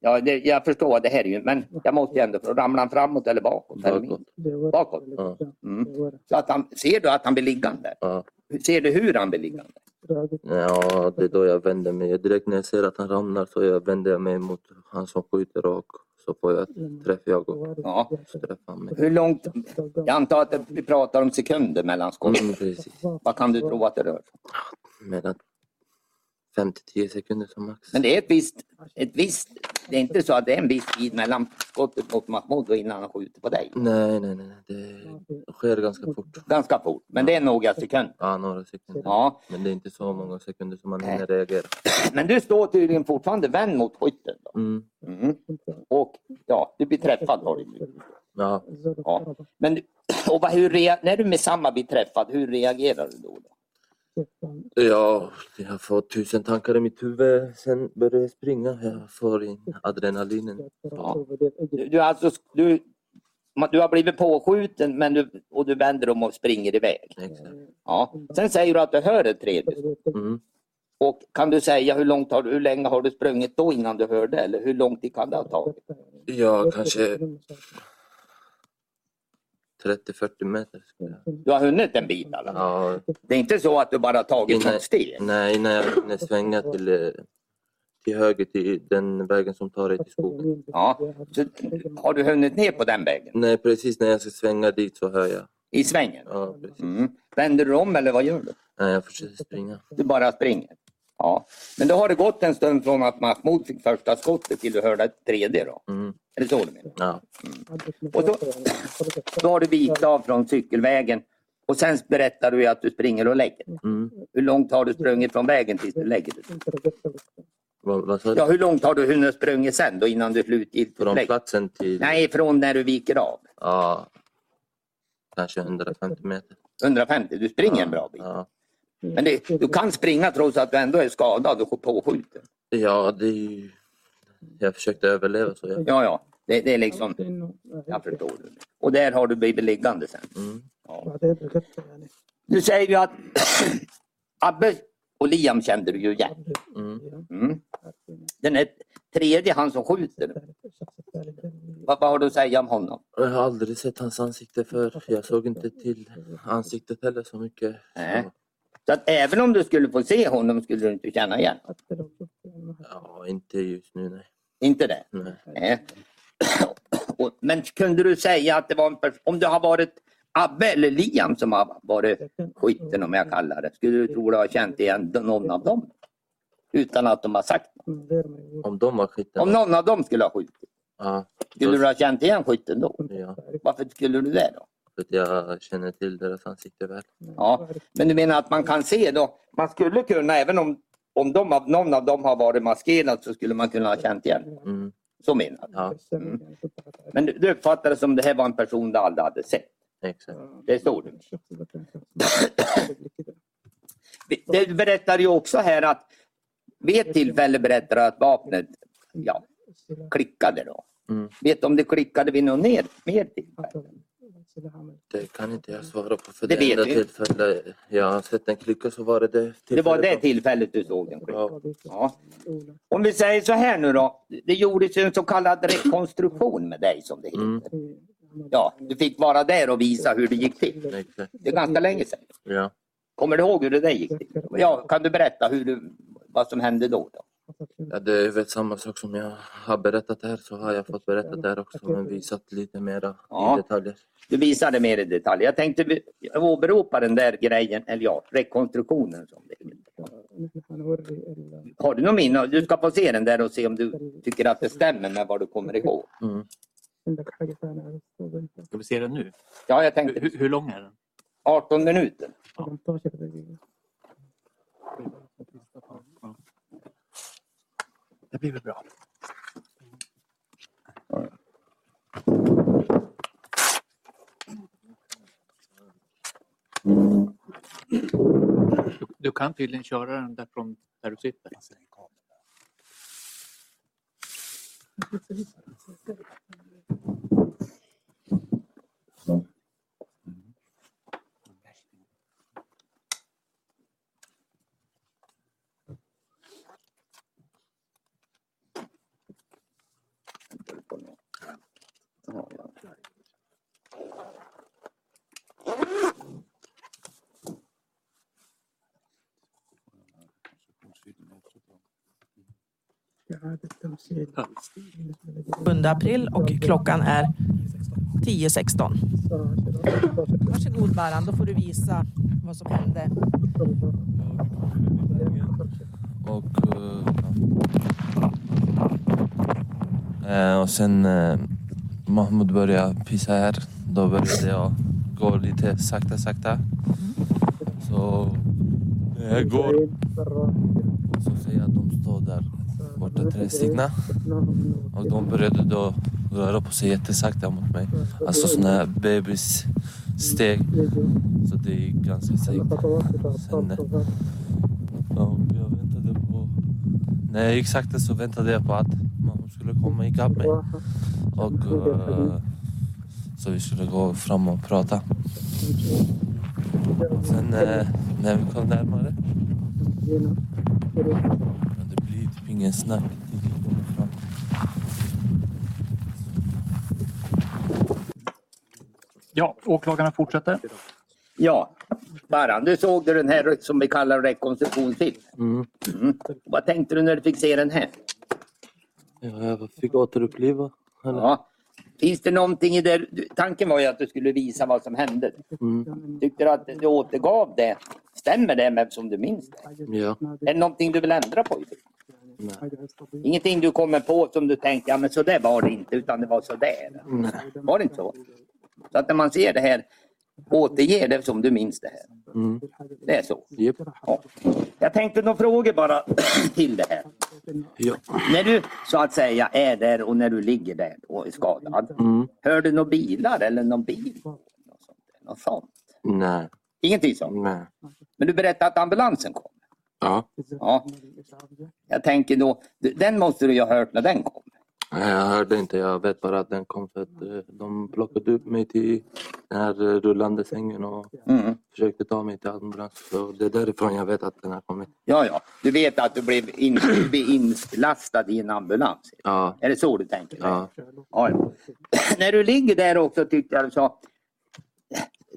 C: Ja, det, jag förstår vad det här är ju, men jag måste ju ändå fråga, ramlar han framåt eller bakåt? Eller
D: Bakåt.
C: minst? Bakåt. Mm. Så att han, ser du att han blir liggande?
D: Ja.
C: Ser du hur han blir liggande?
D: ja, det är då jag vänder mig. Direkt när jag ser att han ramlar så jag vänder jag mig mot han som skjuter och så får jag
C: Mm.
D: träff jag och
C: Ja.
D: så träffar han mig.
C: Hur långt? Jag antar att vi pratar om sekunder mellan skotten.
D: Mm, precis.
C: Vad kan du tro att det rör sig om?
D: Mellan 5 till 10 sekunder som max.
C: Men det är ett visst, ett visst, det är inte så att det är en viss tid mellan skottet mot Mahmoud och innan han skjuter på dig.
D: Nej, nej, nej. nej. Det sker ganska fort.
C: Ganska fort, men det är några sekunder.
D: Ja, några sekunder.
C: Ja,
D: Men det är inte så många sekunder som man hinner reagera.
C: men du står tydligen fortfarande vänd mot skytten. Då.
D: Mm.
C: Mm. Och ja, du blir träffad har du blivit.
D: Ja,
C: Ja. Men och vad, hur rea- när du med samma blir träffad, hur reagerar du då? då?
D: Ja, jag får tusen tankar i mitt huvud. Sen börjar jag springa. Jag får in adrenalinen.
C: Du, du, är alltså, du, man- du har blivit påskjuten men du, och du vänder om och springer iväg.
D: Exakt.
C: Ja. Sen säger du att du hör ett tredje skott.
D: Mm.
C: Och kan du säga hur, långt har, du- hur länge har du sprungit då innan du hörde eller hur lång tid kan det ha tagit?
D: Ja, kanske 30-40 meter. skulle jag-
C: Du har hunnit en bit alla. fall.
D: Ja,
C: Det är inte så att du bara tagit
D: Innan-
C: något steg?
D: nej, innan jag hinner svänga till, eh, till höger, till den vägen som tar dig till skogen.
C: Ja. Så, har du hunnit ner på den vägen?
D: Nej, precis när jag ska svänga dit så hör jag.
C: I svängen?
D: Ja, precis.
C: Mm. Vänder du om eller vad gör du?
D: Nej, jag försöker springa.
C: Du bara springer? Ja. Men då har det gått en stund från att Mahmoud fick första skottet till du hörde ett tredje då?
D: Mm.
C: Är det så du menar?
D: Ja,
G: Och då...
C: Då har du vikit av från cykelvägen och sen berättar du ju att du springer och lägger dig.
D: mm.
C: Hur långt har du sprungit från vägen tills du lägger dig?
D: Vad, vad sa
C: Ja,
D: du?
C: hur långt har du hunnit sprungit sen då innan du slutgiltigt
D: Från
C: lägger dig?
D: platsen till...
C: Nej, från när du viker av.
D: Ja, kanske 150 meter.
C: 150, du springer en bra bit.
D: Ja.
C: Men det, du kan springa trots att du ändå är skadad och påskjuten.
D: Ja, det är ju... Jag försökte överleva så jag...
C: liksom- Ja, ja, det, det är liksom, jag förstår. det. Och där har du blivit liggande sen.
D: Mm.
C: Ja.
G: بعدين رقدت يعني
C: Du säger ju att Abbe och Liam kände du ju igen.
D: Mm.
C: Mm. Den är tredje, han som skjuter. Vad, vad har du att säga om honom?
D: Jag har aldrig sett hans ansikte förr. Jag såg inte till ansiktet heller så mycket.
C: Nej. Äh. Så att även om du skulle få se honom skulle du inte känna igen?
D: Ja, inte just nu nej.
C: Inte det?
D: nej.
C: Nej. Och- Men kunde du säga att det var en pers- om det har varit Abbe eller Liam som har varit skiten om jag kallar det, skulle du tro du har känt igen någon av dem? Utan att de har sagt något.
D: Om de var skiten.
C: Om någon av dem skulle ha skjutit,
D: Ja,
C: skulle du ha känt igen skiten då?
D: ja,
C: Varför skulle du det då?
D: för att jag känner till deras ansikte väl.
C: Ja, men du menar att man kan se då? Man skulle kunna, även om, om de, av- någon av dem har varit maskerad, så skulle man kunna ha känt igen.
D: Mm.
C: Så menar du?
D: Ja,
C: Mm. Men du, du uppfattade det som det här var en person du aldrig hade sett?
D: exakt.
C: Det står det. Det- Det berättar ju också här att vid ett tillfälle berättar du att vapnet ja, klickade. Då.
D: Mm.
C: Vet du om det klickade vid något ner, mer tillfälle?
D: Det kan inte jag svara på för
C: Det
D: det,
C: vet
D: enda
C: vi.
D: tillfälle jag har sett den klicka så var det det tillfället.
C: Det var det
D: då.
C: tillfället du såg den klicka.
D: Ja.
C: Ja. Om vi säger så här nu då. Det gjordes ju en så kallad rekonstruktion med dig som det heter.
D: Mm.
C: Ja, du fick vara där och visa hur det gick till.
D: Exakt.
C: Det är ganska länge sedan.
D: Ja.
C: Kommer du ihåg hur det där gick till? Ja, kan du berätta hur du, vad som hände då? då?
D: ja, det är väl samma sak som jag har berättat här så har jag fått berätta där också men visat lite mera
C: Ja.
D: i detaljer.
C: Du visade mer i detalj. Jag tänkte vi- jag åberopa den där grejen, eller ja, rekonstruktionen som det heter. Har du någon minne? Du ska få se den där och se om du tycker att det stämmer med vad du kommer ihåg.
D: Mm.
F: Ska vi se den nu?
C: Ja, jag
F: Hur,
C: tänkte
F: hur- hur lång är den?
C: 18 minuter.
F: Det blir väl bra. Du, du kan tydligen köra den därifrån där du sitter.
C: Ja, ja.
H: april och klockan är 10.16. Varsågod Baran, då får du visa vad som hände.
I: Och, eh, eh, och sen eh, Mahmoud började pissa här. Då började jag gå lite sakta, sakta. Så när jag går så ser jag att de står där borta, tre stycken. Och de började då röra på sig jättesakta mot mig. Alltså såna här bebissteg. Så det gick ganska segt. Sen, eh, Ja, jag väntade på... När jag gick sakta så väntade jag på att mamma skulle komma ikapp mig. Och, eh, så vi skulle gå fram och prata. Sen eh, när vi kom närmare, men det blir typ ingen snack. Det gick bara fram.
F: Ja, åklagarna fortsätter.
C: ja. Baran, du såg du den här som vi kallar rekonstruktionsfilm.
D: Mm.
C: Mm. Vad tänkte du när du fick se den här?
D: Ja, jag fick återuppliva. Eller?
C: Ja. Finns det någonting i det? du- Tanken var ju att du skulle visa vad som hände.
D: Mm.
C: Tyckte du att du återgav det? Stämmer det med som du minns det?
D: Ja.
C: Är det någonting du vill ändra på?
D: Nej.
C: Ingenting du kommer på som du tänkte, ja men så där var det inte, utan det var så där.
D: Nej.
C: Var det inte så? Så att när man ser det här, återger det som du minns det här.
D: Mm.
C: Det är så.
D: Japp.
C: Ja. Jag tänkte några frågor bara till det här.
D: Ja.
C: När du så att säga är där och när du ligger där och är skadad.
D: Mm.
C: Hör du några bilar eller någon bil? Något sånt. Något sånt.
D: Nej.
C: Ingenting sånt.
D: Nej.
C: Men du berättade att ambulansen kom.
D: Ja.
C: Ja. Jag tänker då, d- den måste du ju ha hört när den kom.
D: Nej, jag hörde inte. Jag vet bara att den kom för att eh, de plockade upp mig till den här eh, rullande sängen och
C: Mm.
D: försökte ta mig till ambulans. Så det är därifrån jag vet att den har kommit.
C: Ja, ja. Du vet att du blev, in, du blev inlastad i en ambulans.
D: Ja,
C: Är det så du tänker?
D: ja.
C: Ja, ja. När du ligger där också tyckte jag du sa,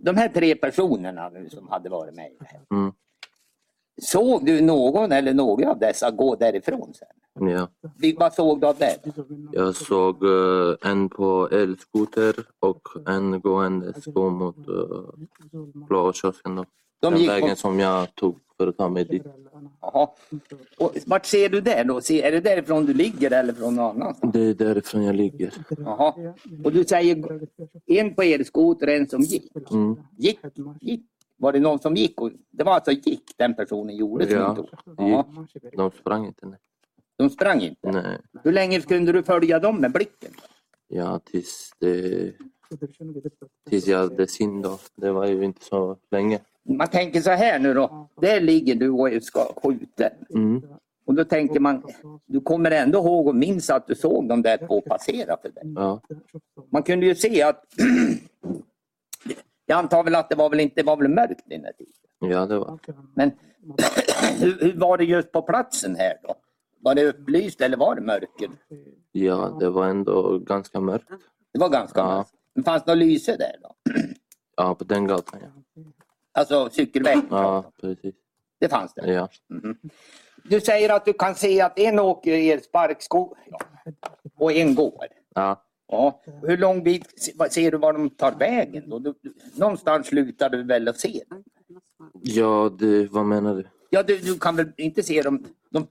C: de här tre personerna nu som hade varit med i det här.
D: Mm.
C: Såg du någon eller några av dessa gå därifrån sen?
D: ja.
C: Vi- Vad såg du av det?
D: Jag såg eh, en på elskoter och en gående så mot eh, blå kiosken. då.
C: De
D: Den
C: gick
D: vägen
C: mot-
D: som jag tog för att ta mig dit.
C: Jaha. Och vart ser du det då? Se- Är det därifrån du ligger eller från någon annanstans?
D: Det är därifrån jag ligger.
C: Jaha. Och du säger en på elskoter och en som gick.
D: Mm.
C: Gick, gick. Var det någon som gick? Och, det var alltså gick den personen gjorde som
D: Ja,
C: inte åkte.
D: gick.
C: Jaha.
D: De sprang inte. Nej.
C: De sprang inte.
D: nej.
C: Hur länge kunde du följa dem med blicken?
D: Ja, tills, det, tills jag hade sin då. Det var ju inte så länge.
C: Man tänker så här nu då. Där ligger du och är ska skjuten.
D: Mm.
C: Och då tänker man, du kommer ändå ihåg och minns att du såg de där två passera för dig.
D: Ja.
C: Man kunde ju se att... jag antar väl att det var väl inte det var väl mörkt den här tiden.
D: ja, det var
C: Men hur, hur var det just på platsen här då? Var det upplyst eller var det mörker?
D: ja, det var ändå ganska mörkt.
C: Det var ganska
D: Ja.
C: mörkt. Men fanns det något lyse där då?
D: Ja, på den gatan. Ja,
C: Alltså cykelvägen?
D: ja precis.
C: Det fanns det?
D: Ja.
C: Du säger att du kan se att en åker i en sparksko ja. och en går.
D: Ja.
C: Ja. Hur lång bit se- vad- ser du var de tar vägen? Då? Du, du- någonstans slutar du väl att se? dem?
D: ja, det, vad menar du?
C: Ja, du, du kan väl inte se dem? De,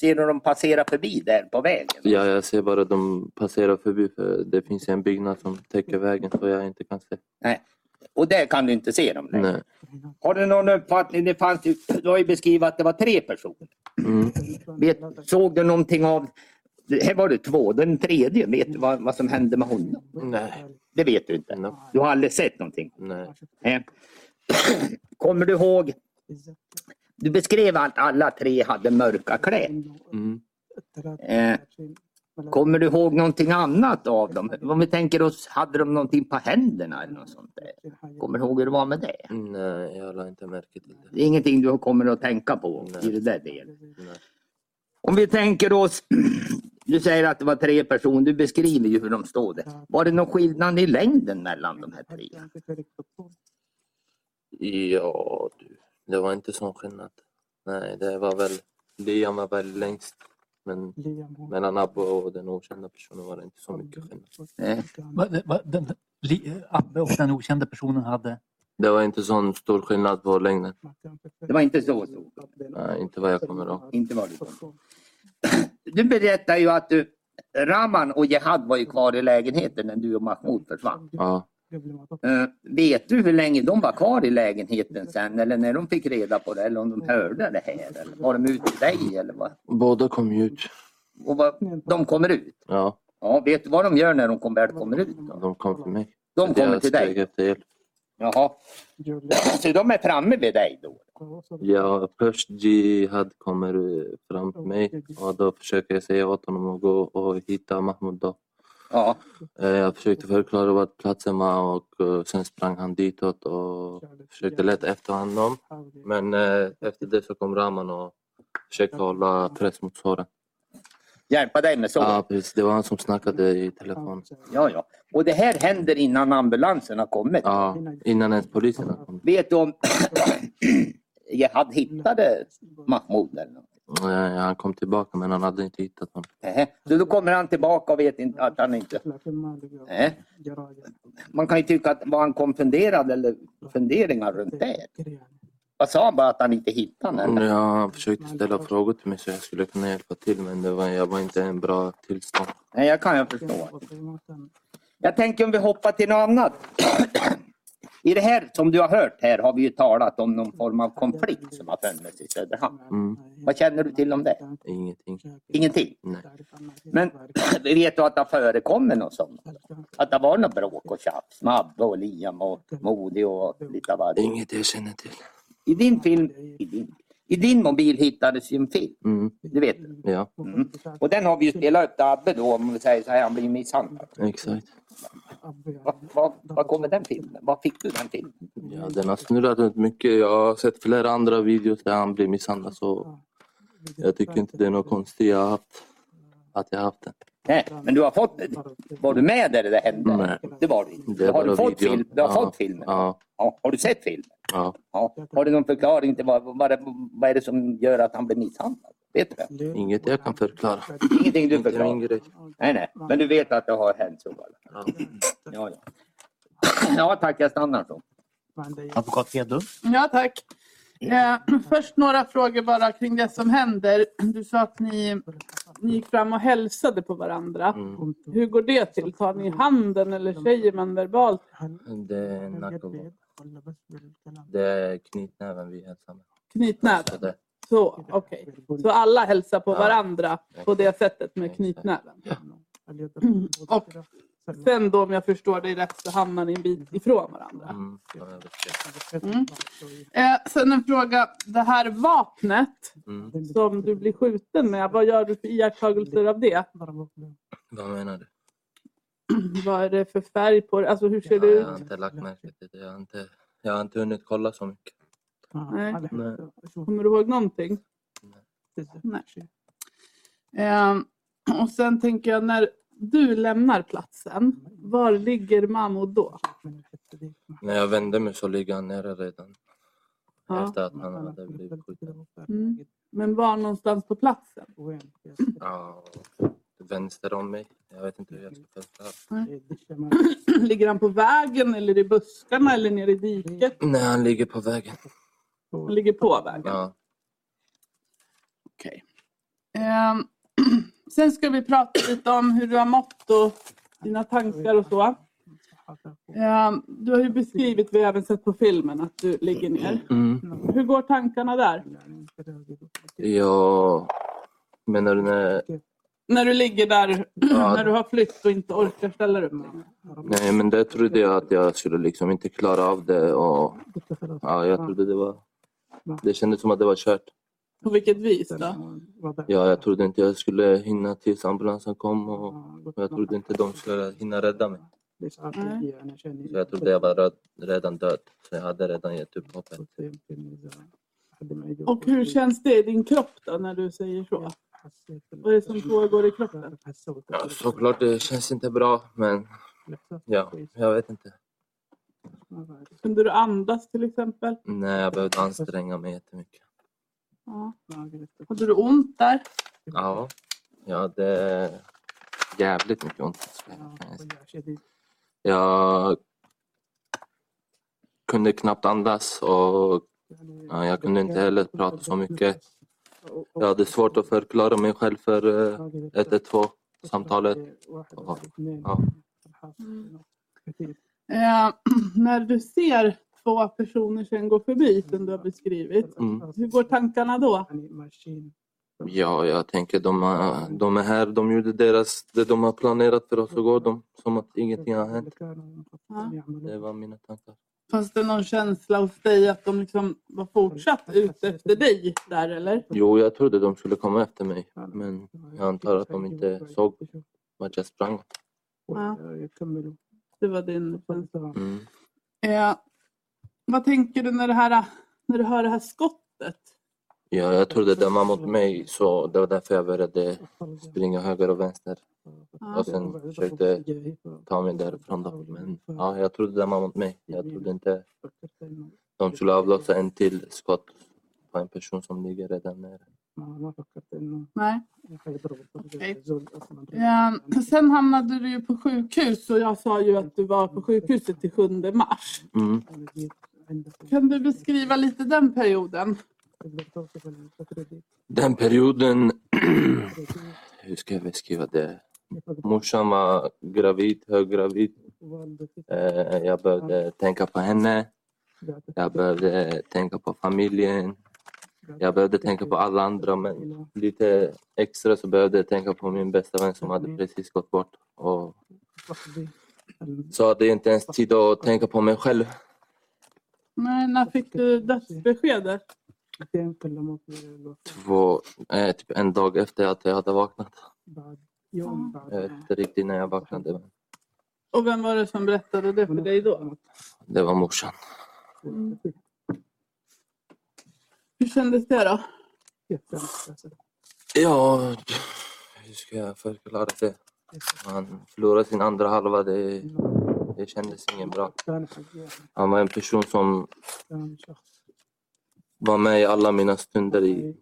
C: ser du dem passera förbi där på vägen?
D: Ja, jag ser bara att de passerar förbi för det finns en byggnad som täcker vägen så jag inte kan se.
C: Nej. Och där kan du inte se dem? längre.
D: Nej.
C: Har du någon uppfattning? Det fanns ju, du har ju beskrivit att det var tre personer.
D: Mm.
C: Vet, såg du någonting av... det- Här var det två, den tredje. Vet du vad, vad som hände med honom?
D: Nej.
C: Det vet du inte.
D: Nej.
C: Du har aldrig sett någonting.
D: Nej.
C: Eh, Kommer du ihåg? Du beskrev att alla tre hade mörka kläder.
D: Mm.
C: Eh, Kommer du ihåg någonting annat av dem? Om vi tänker oss, hade de någonting på händerna eller något sånt där? Kommer du ihåg hur det var med det?
D: Nej, jag la inte märke till det.
C: Det är ingenting du kommer att tänka på i det där delen.
D: Nej.
C: Om vi tänker oss, du säger att det var tre personer, du beskriver ju hur de stod där. Var det någon skillnad i längden mellan de här tre?
D: Ja, du. Det var inte sån skillnad. Nej, det var väl... Liam var väl längst. Men mellan Abbe och den okända personen var det inte så mycket skillnad.
C: Eh,
F: Va- va- Den, li, eh, Abbe och den okända personen hade...
D: Det var inte sån stor skillnad på längden.
C: Det var inte så stor.
D: Nej, inte vad jag kommer ihåg.
C: Inte var det så. Du berättar ju att du, Rahman och Jihad var ju kvar i lägenheten när du och Mahmoud försvann.
D: Ja.
C: Eh, vet du hur länge de var kvar i lägenheten sen eller när de fick reda på det eller om de hörde det här? Eller var de ute dig eller vad?
D: Båda kom ju ut.
C: Och vad, de kommer ut?
D: Ja,
C: Ja, vet du vad de gör när de kom, väl kommer ut? Då?
D: de kom till mig.
C: De kommer
D: jag
C: till
D: skrek
C: dig?
D: efter hjälp.
C: Jaha. Så de är framme vid dig då?
D: Ja, först Jihad kommer eh, fram till mig och då försöker jag säga åt honom att gå och hitta Mahmoud. Då.
C: Ja.
D: Eh, Jag försökte förklara vart platsen var och eh, sen sprang han ditåt och försökte leta efter honom. Men eh, efter det så kom Rahman och försökte hålla press mot såren.
C: Hjälpa dig med såret?
D: Ja, precis. Det var han som snackade i telefon.
C: Ja, ja. Och det här händer innan ambulansen har kommit?
D: Ja, innan ens polisen kom.
C: Vet du om Jihad hittade Mahmoud? Eller något?
D: Eh, Han kom tillbaka men han hade inte hittat honom.
C: Nähä. Så då kommer han tillbaka och vet inte att han inte... Nähä. Man kan ju tycka att var han konfunderad eller funderingar runt det? Vad sa han bara att han inte hittade honom? eller?
D: Ja, han försökte ställa frågor till mig så jag skulle kunna hjälpa till men det var, jag var inte i en bra tillstånd.
C: Nej, jag kan jag förstå. Jag tänker om vi hoppar till något annat. I det här som du har hört här har vi ju talat om någon form av konflikt som har funnits i Söderhamn.
D: Mm,
C: Vad känner du till om det?
D: ingenting.
C: Ingenting?
D: Nej.
C: Men vet du att det har förekommit något sånt? Att det var något bråk och tjafs med Abbe och
J: Mm.
C: Liam och Modi och lite av varje?
D: Inget jag känner till.
C: I din film, i din, I din mobil hittades ju en film.
D: Mm,
C: Du vet.
D: ja,
C: Mm. Och den har vi ju spelat upp till Abbe då om vi säger så här, han blir misshandlad.
D: exakt.
C: Vad va, va kommer den filmen? Var fick du den filmen?
J: Mm.
D: Ja, den har snurrat runt mycket. Jag har sett flera andra videos där han blir misshandlad. Så jag tycker inte det är något konstigt jag har haft, att jag har haft den.
C: Nej, men du har fått den. Var du med där det där hände?
D: Nej.
C: Det var du inte.
D: är
C: Har du
D: bara
C: fått,
D: videon.
C: film? du har
D: Ja,
C: fått filmen?
D: Ja,
C: Ja. Har du sett filmen?
D: ja,
C: Ja. Har du någon förklaring till vad, vad, det, vad är det som gör att han blir misshandlad? Vet du det?
D: inget jag kan förklara.
C: Ingenting du
D: Inte min
C: förklarar?
D: grej.
C: Nej, nej. Men du vet att det har hänt så? bara.
D: Ja.
C: Ja, ja. ja tack. Jag stannar så.
F: Advokat Hedlund.
J: Ja, tack. Eh, först några frågor bara kring det som händer. Du sa att ni, ni gick fram och hälsade på varandra.
D: Mm.
J: Hur går det till? Tar ni handen eller säger man verbalt?
D: Det är nacke- Det är knytnäven vi hälsar med. Så
J: Knytnäven?
D: det-
J: Så, okej. Så alla hälsar på
D: Ja.
J: varandra på det sättet med knytnäven? Och sen då, om jag förstår dig rätt, så hamnar ni en bit ifrån varandra?
D: Mm, ja, jag vet det.
J: Mm. Eh, sen en fråga. Det här vapnet
D: Mm,
J: som du blir skjuten med, vad gör du för iakttagelser av det?
D: vad menar du?
J: Vad är det för färg på det? Alltså hur ser det
D: Ja, jag
J: ut?
D: har inte lagt märke till det. Jag har inte, jag har inte hunnit kolla så mycket.
J: Nej.
D: Nej.
J: Kommer du ihåg någonting? Nej. Ehm, och sen tänker jag när du lämnar platsen, var ligger Mahmoud då?
D: När jag vände mig så ligger han nere redan.
J: Ja.
D: Efter att han hade blivit skjuten.
J: Mm. Men var någonstans på platsen?
D: Ja, vänster om mig. Jag vet inte hur jag ska förklara.
J: ligger han på vägen eller i buskarna eller nere i diket?
D: Nej, han ligger på vägen.
J: Han ligger på vägen.
D: Ja.
J: Okej. Ehm, sen ska vi prata lite om hur du har mått och dina tankar och så. Ehm, du har ju beskrivit, vi har även sett på filmen, att du ligger ner. Hur går tankarna där?
D: ja. Menar du när...
J: När du ligger där,
D: Ja.
J: när du har flytt och inte orkar ställa dig upp längre.
D: Nej, men det trodde jag att jag skulle liksom inte klara av det. Och, ja, jag trodde det var... Det kändes som att det var kört.
J: På vilket vis då?
D: Ja, jag trodde inte jag skulle hinna tills ambulansen kom och jag trodde inte de skulle hinna rädda mig. Så jag trodde jag var röd- redan död. Så jag hade redan gett upp hoppet.
J: Och hur känns det i din kropp då när du säger så? Vad är det som pågår i kroppen?
D: Ja, såklart, det känns inte bra, men ja, jag vet inte.
J: Kunde du andas till exempel?
D: Nej, jag behövde anstränga mig jättemycket.
J: Ja. Hade du ont där?
D: Ja, ja det är jävligt mycket ont. kan jag säga. Jag kunde knappt andas och ja, jag kunde inte heller prata så mycket. Jag hade svårt att förklara mig själv för eh, 112-samtalet. Ja, ja. Mm.
J: Eh, när du ser två personer sen gå förbi som du har beskrivit,
D: Mm.
J: hur går tankarna då?
D: ja, jag tänker de, eh, de är här. De gjorde deras, det de har planerat för oss och går de som att ingenting har hänt.
J: Ja.
D: Det var mina tankar.
J: Fanns det någon känsla hos dig att de liksom var fortsatt ute efter dig där eller?
D: Jo, jag trodde de skulle komma efter mig, men jag antar att de inte såg Mm. vart jag sprang.
J: Ja. Det var din känsla.
D: Mm.
J: Eh, vad tänker du när, det här, när du hör det här skottet?
D: Ja, jag trodde den var mot mig så det var därför jag började springa höger och vänster
J: Ja.
D: och sen försökte ta mig därifrån. Då.
E: Mm,
D: Men ja, jag trodde den var mot mig. Jag trodde inte de skulle avlossa en till skott på en person som ligger redan nere.
J: Nej. Eh, sen hamnade du ju på sjukhus och jag sa ju att du var på sjukhuset till 7 mars.
D: Mm.
J: Kan du beskriva lite den perioden?
D: Den perioden... Hur ska jag beskriva det? Morsan var gravid, höggravid. Eh, Jag behövde tänka på henne. Jag behövde tänka på familjen. Jag behövde tänka på alla andra men lite extra så behövde jag tänka på min bästa vän som hade precis gått bort. Och så hade jag inte ens tid att tänka på mig själv.
J: Nej, när fick du dödsbeskedet?
D: Två, eh, typ en dag efter att jag hade vaknat. Jag
E: Mm.
D: vet Eh, inte riktigt när jag vaknade. Men
J: Och vem var det som berättade det för dig då?
D: det var morsan.
J: Mm. Hur kändes det då?
D: Ja, hur ska jag förklara det? Han förlorade sin andra halva. Det, det kändes ingen bra. Han var en person som var med i alla mina stunder. I,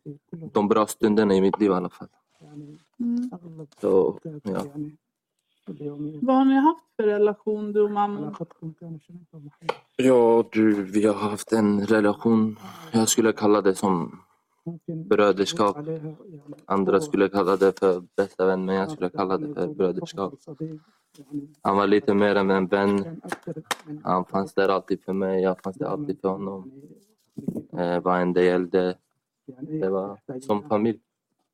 D: de bra stunderna i mitt liv i alla fall.
J: Mm.
D: Så, ja.
J: Vad har ni haft för relation du och mamma?
D: Ja, du, vi har haft en relation. Jag skulle kalla det som bröderskap.
E: Mm.
D: Andra skulle kalla det för bästa vän, men jag skulle kalla det för bröderskap. Han var lite mer än en vän. Han fanns där alltid för mig, jag fanns där alltid för honom. Eh, vad än det gällde. Det var som familj.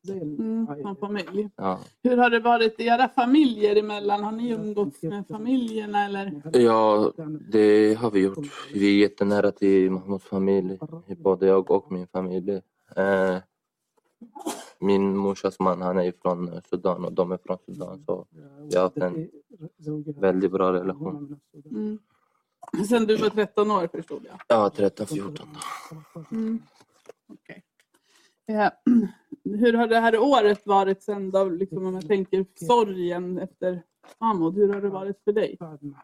J: Mm, som familj.
D: Ja.
J: Hur har det varit i era familjer emellan? Har ni umgåtts med familjerna eller?
D: Ja, det har vi gjort. Vi är jättenära till Mahmouds familj, både jag och min familj. Eh, min morsas man han är från eh, Sudan och de är från Sudan. Så vi har haft en väldigt bra relation.
J: Mm. Sen du var 13 år förstod jag.
D: Ja, 13-14.
J: Mm. Okej. Eh, hur har det här året varit sen då? Liksom om jag tänker sorgen efter Mahmoud. Hur har det varit för dig?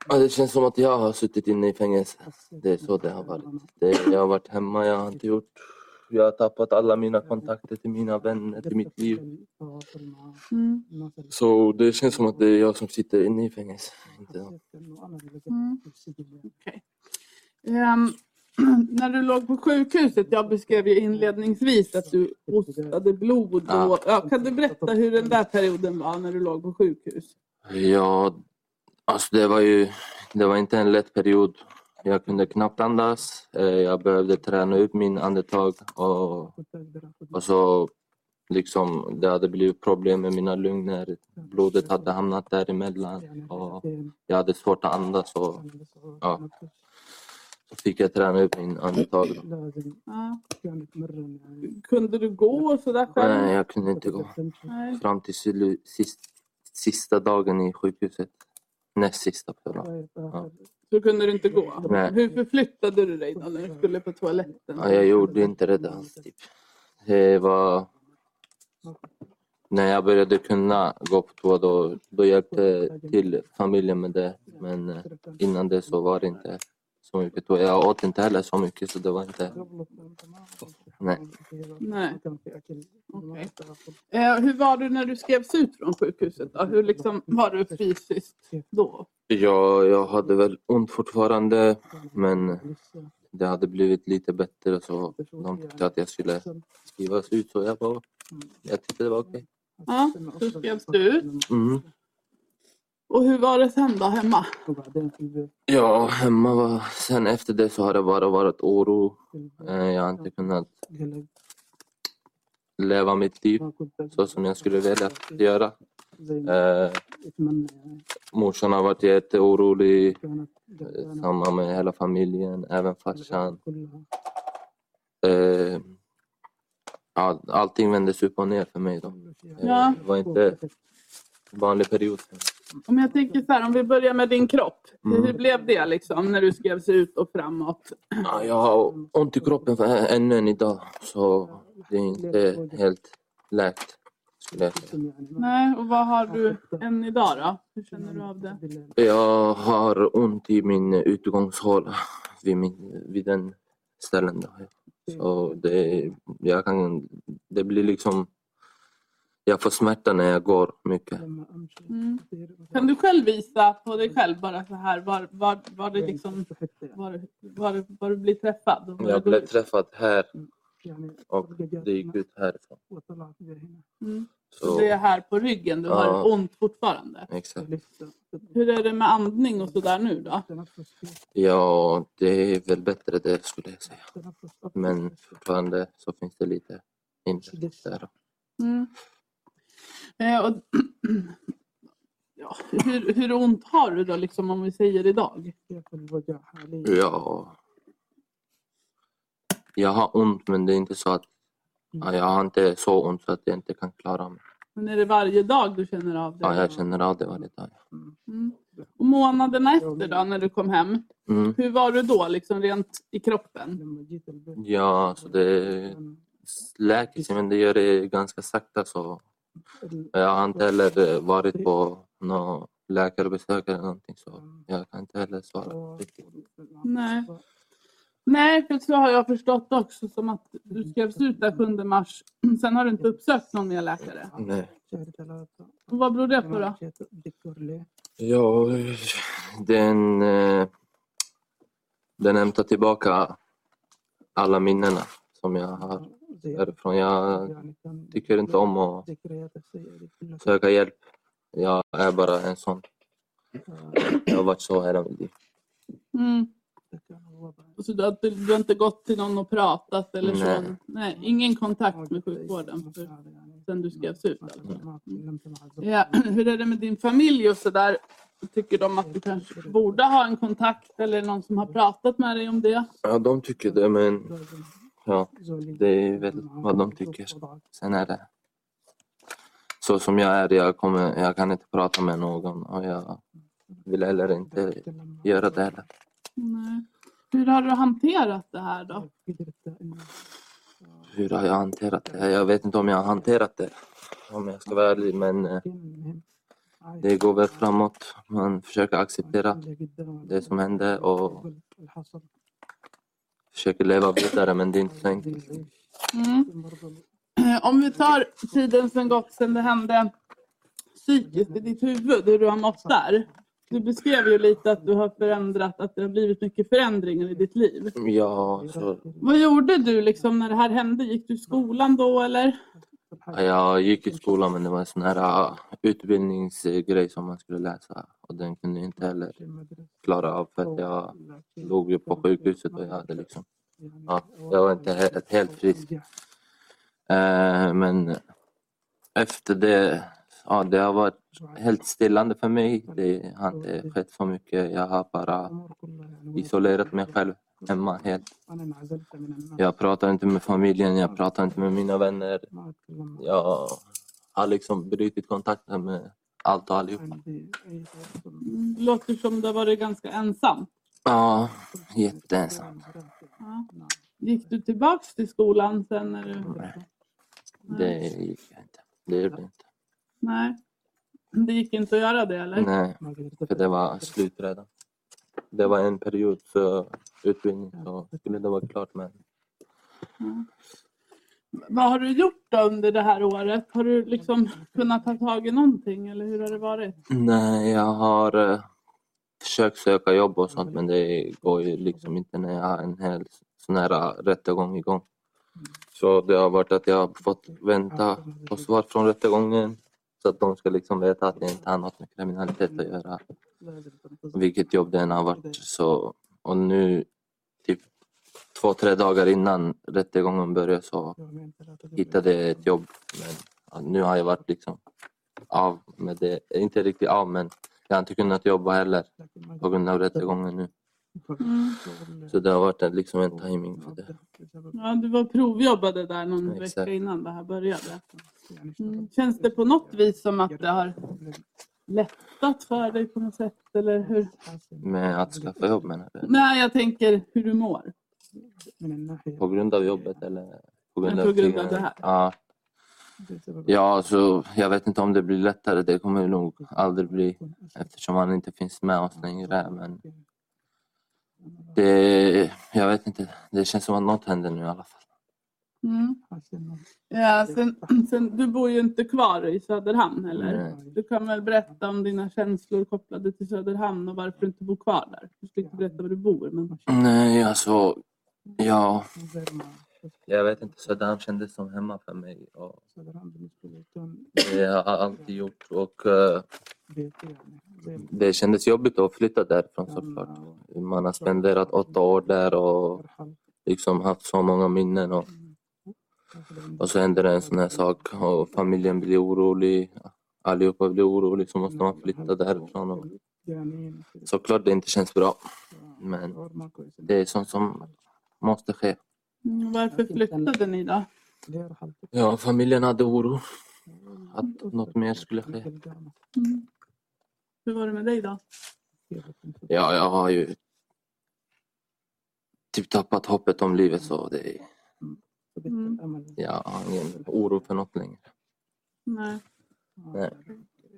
D: Ja, det känns som att jag har suttit inne i fängelse. Det är så det har varit. Det, jag har varit hemma, jag har inte gjort... Jag har tappat alla mina kontakter till mina vänner, till mitt liv.
J: Mm.
D: Så det känns som att det är jag som sitter inne i fängelse. Inte de.
J: Mm. Okej. Ehm, när du låg på sjukhuset, jag beskrev ju inledningsvis att du ostade blod. Och,
D: Ja.
J: ja. kan du berätta hur den där perioden var när du låg på sjukhus?
D: Ja, alltså det var ju det var inte en lätt period. Jag kunde knappt andas. Eh, Jag behövde träna upp min andetag och, och så liksom det hade blivit problem med mina lungor. Blodet hade hamnat däremellan och jag hade svårt att andas. Och, ja. Så fick jag träna upp min andetag. då.
J: Ja. Kunde du gå och sådär själv?
D: Nej, jag kunde inte gå.
J: Nej.
D: Fram till slu- sist, sista dagen i sjukhuset. Näst sista på dagen.
J: Så kunde du inte gå?
D: Nej.
J: Hur förflyttade du dig då när du skulle på toaletten?
D: Ja, jag gjorde inte det där. Typ. Det var... När jag började kunna gå på toa då, då hjälpte till familjen med det. Men eh, innan det så var det inte så mycket toa. Jag åt inte heller så mycket så det var inte... Nej.
J: Nej. Okej. Eh, hur var du när du skrevs ut från sjukhuset? Då? Hur liksom var du fysiskt då?
D: Jag, jag hade väl ont fortfarande men det hade blivit lite bättre så de tyckte att jag skulle skrivas ut så jag, bara, jag tyckte det var okej.
J: Ja, så skrevs du ut.
D: Mm.
J: Och hur var det sen då hemma?
D: Ja, hemma var... Sen efter det så har det bara varit oro. Eh, Jag har inte kunnat leva mitt liv så som jag skulle vilja göra. Eh, morsan har varit jätteorolig. eh, Samma med hela familjen, även farsan. Eh, all, allting vändes upp och ner för mig då. Eh,
J: Ja.
D: Det var inte vanlig period.
J: Om jag tänker så här, om vi börjar med din kropp.
D: Mm.
J: Hur blev det liksom när du skrevs ut och framåt?
D: Ja, jag har ont i kroppen för- ännu än idag så det är inte helt läkt. Skulle jag, säga.
J: Nej, och vad har du än idag då? Hur känner du av det?
D: jag har ont i min utgångshåla vid, min, vid den ställen. Där. Så det, jag kan, det blir liksom... Jag får smärta när jag går mycket.
J: Mm. Kan du själv visa på dig själv bara så här var, var, var det liksom var, var, var du blir träffad? och var
D: Jag
J: du-
D: blev träffad här och Mm. det gick ut härifrån.
J: Mm.
D: Så,
J: Det är här på ryggen, du
D: Ja.
J: har ont fortfarande.
D: exakt.
J: Hur är det med andning och sådär nu då?
D: Ja, det är väl bättre det skulle jag säga. Men fortfarande så finns det lite hinder där.
J: Mm. Eh, och, ja, hur, hur ont har du då liksom om vi säger idag?
D: Ja, Jag har ont men det är inte så att ja, jag har inte så ont så att jag inte kan klara mig.
J: Men är det varje dag du känner av det?
D: Ja, jag känner av det varje dag.
J: Mm. Och månaderna efter då, när du kom hem?
D: Mm.
J: Hur var du då, liksom rent i kroppen?
D: Ja, så det läker sig men det gör det ganska sakta så jag har inte heller eh, varit på någon läkarbesök eller någonting så jag kan inte heller svara riktigt.
J: Nej. Nej, för så har jag förstått också, som att du skrevs ut där 7 mars. Sen har du inte uppsökt någon mer läkare.
D: Nej.
J: Och vad beror det på då?
D: Ja, den, eh, den hämtar tillbaka alla minnena som jag har därifrån. Jag tycker inte om att söka hjälp. Jag är bara en sån. Jag har varit så hela mitt liv.
J: Mm. Så du, har, du har inte gått till någon och pratat eller så?
D: Nej.
J: Nej, ingen kontakt med sjukvården för, sen du skrevs ut?
D: Mm.
J: Alltså. Ja. Hur är det med din familj och sådär? Tycker de att du kanske borde ha en kontakt eller någon som har pratat med dig om det?
D: Ja, de tycker det, men ja, det är väl vad de tycker. Sen är det så som jag är. Jag, kommer, jag kan inte prata med någon och jag vill heller inte göra det heller.
J: Nej. Hur har du hanterat det här då?
D: Hur har jag hanterat det? Jag vet inte om jag har hanterat det, om jag ska vara ärlig, men eh, det går väl framåt. Man försöker acceptera det som hände och försöker leva vidare, men det är inte så enkelt.
J: Mm. Om vi tar tiden som gått sedan det hände psykiskt i ditt huvud, hur du har mått där. Du beskrev ju lite att du har förändrat, att det har blivit mycket förändringar i ditt liv.
D: Ja, så,
J: Vad gjorde du liksom när det här hände? Gick du i skolan då eller?
D: jag gick i skolan, men det var en sån här eh, utbildningsgrej som man skulle läsa och den kunde jag inte heller klara av för att jag låg ju på sjukhuset och jag hade liksom... Ja, jag var inte helt, helt frisk. Eh, men efter det, ja, det har varit helt stillande för mig. Det har inte skett så mycket. Jag har bara isolerat mig själv hemma helt. Jag pratar inte med familjen, jag pratar inte med mina vänner. Jag har liksom brutit kontakten med allt och allihopa.
J: Det Mm, låter som du har varit ganska ensam.
D: Ja, jätteensam.
J: Ja. Gick du tillbaks till skolan sen? När du...
D: Det gick jag inte. Det gjorde jag inte.
J: Nej. Det gick inte att göra det eller?
D: Nej, för det var slut redan. Det var en period för utbildning så skulle det vara klart men
J: Ja. Vad har du gjort då under det här året? Har du liksom kunnat ta tag i någonting eller hur har det varit?
D: Nej, jag har eh, försökt söka jobb och sånt men det går ju liksom inte när jag har en hel sån här rättegång igång. Så det har varit att jag har fått vänta på svar från rättegången så att de ska liksom veta att jag inte har något med kriminalitet att göra. Vilket jobb det än har varit. Så, och nu, typ två, tre dagar innan rättegången börjar så hittade jag ett jobb. Men ja, nu har jag varit liksom av med det. Inte riktigt av, men jag har inte kunnat jobba heller på grund av rättegången nu. Så det har varit en- liksom en timing för det.
J: Ja, du var provjobbade där någon
D: Exakt.
J: vecka innan det här började. Mm. Känns det på något vis som att det har lättat för dig på något sätt? Eller hur?
D: Med att skaffa jobb menar du?
J: Nej, jag tänker hur du mår.
D: På grund av jobbet eller? På
J: Men på grund av det här?
D: Ja. Ja, så jag vet inte om det blir lättare. Det kommer det nog aldrig bli eftersom han inte finns med oss längre. Men det, jag vet inte. Det känns som att något händer nu i alla fall.
J: Mm.
D: Alltså,
J: Ja, sen, sen, du bor ju inte kvar i Söderhamn heller.
D: Nej.
J: Du kan väl berätta om dina känslor kopplade till Söderhamn och varför du inte bor kvar där. Du ska inte berätta var du bor. Men...
D: Nej, alltså. Ja. Jag vet inte. Söderhamn kändes som hemma för mig. Och det har jag alltid gjort. Och, eh, det kändes jobbigt att flytta därifrån såklart. Man har spenderat åtta år där och liksom haft så många minnen. Och, och så händer det en sån här sak och familjen blir orolig. Allihopa blir orolig så måste man flytta därifrån. Och, såklart det inte känns bra. Men det är sånt som måste ske.
J: Mm, Varför flyttade ni då?
D: Ja, familjen hade oro att något mer skulle ske.
J: Mm. Hur var det med dig då?
D: Ja, jag har ju typ tappat hoppet om livet så det är,
J: Mm.
D: jag har ingen oro för något längre.
J: Nej,
D: Nej.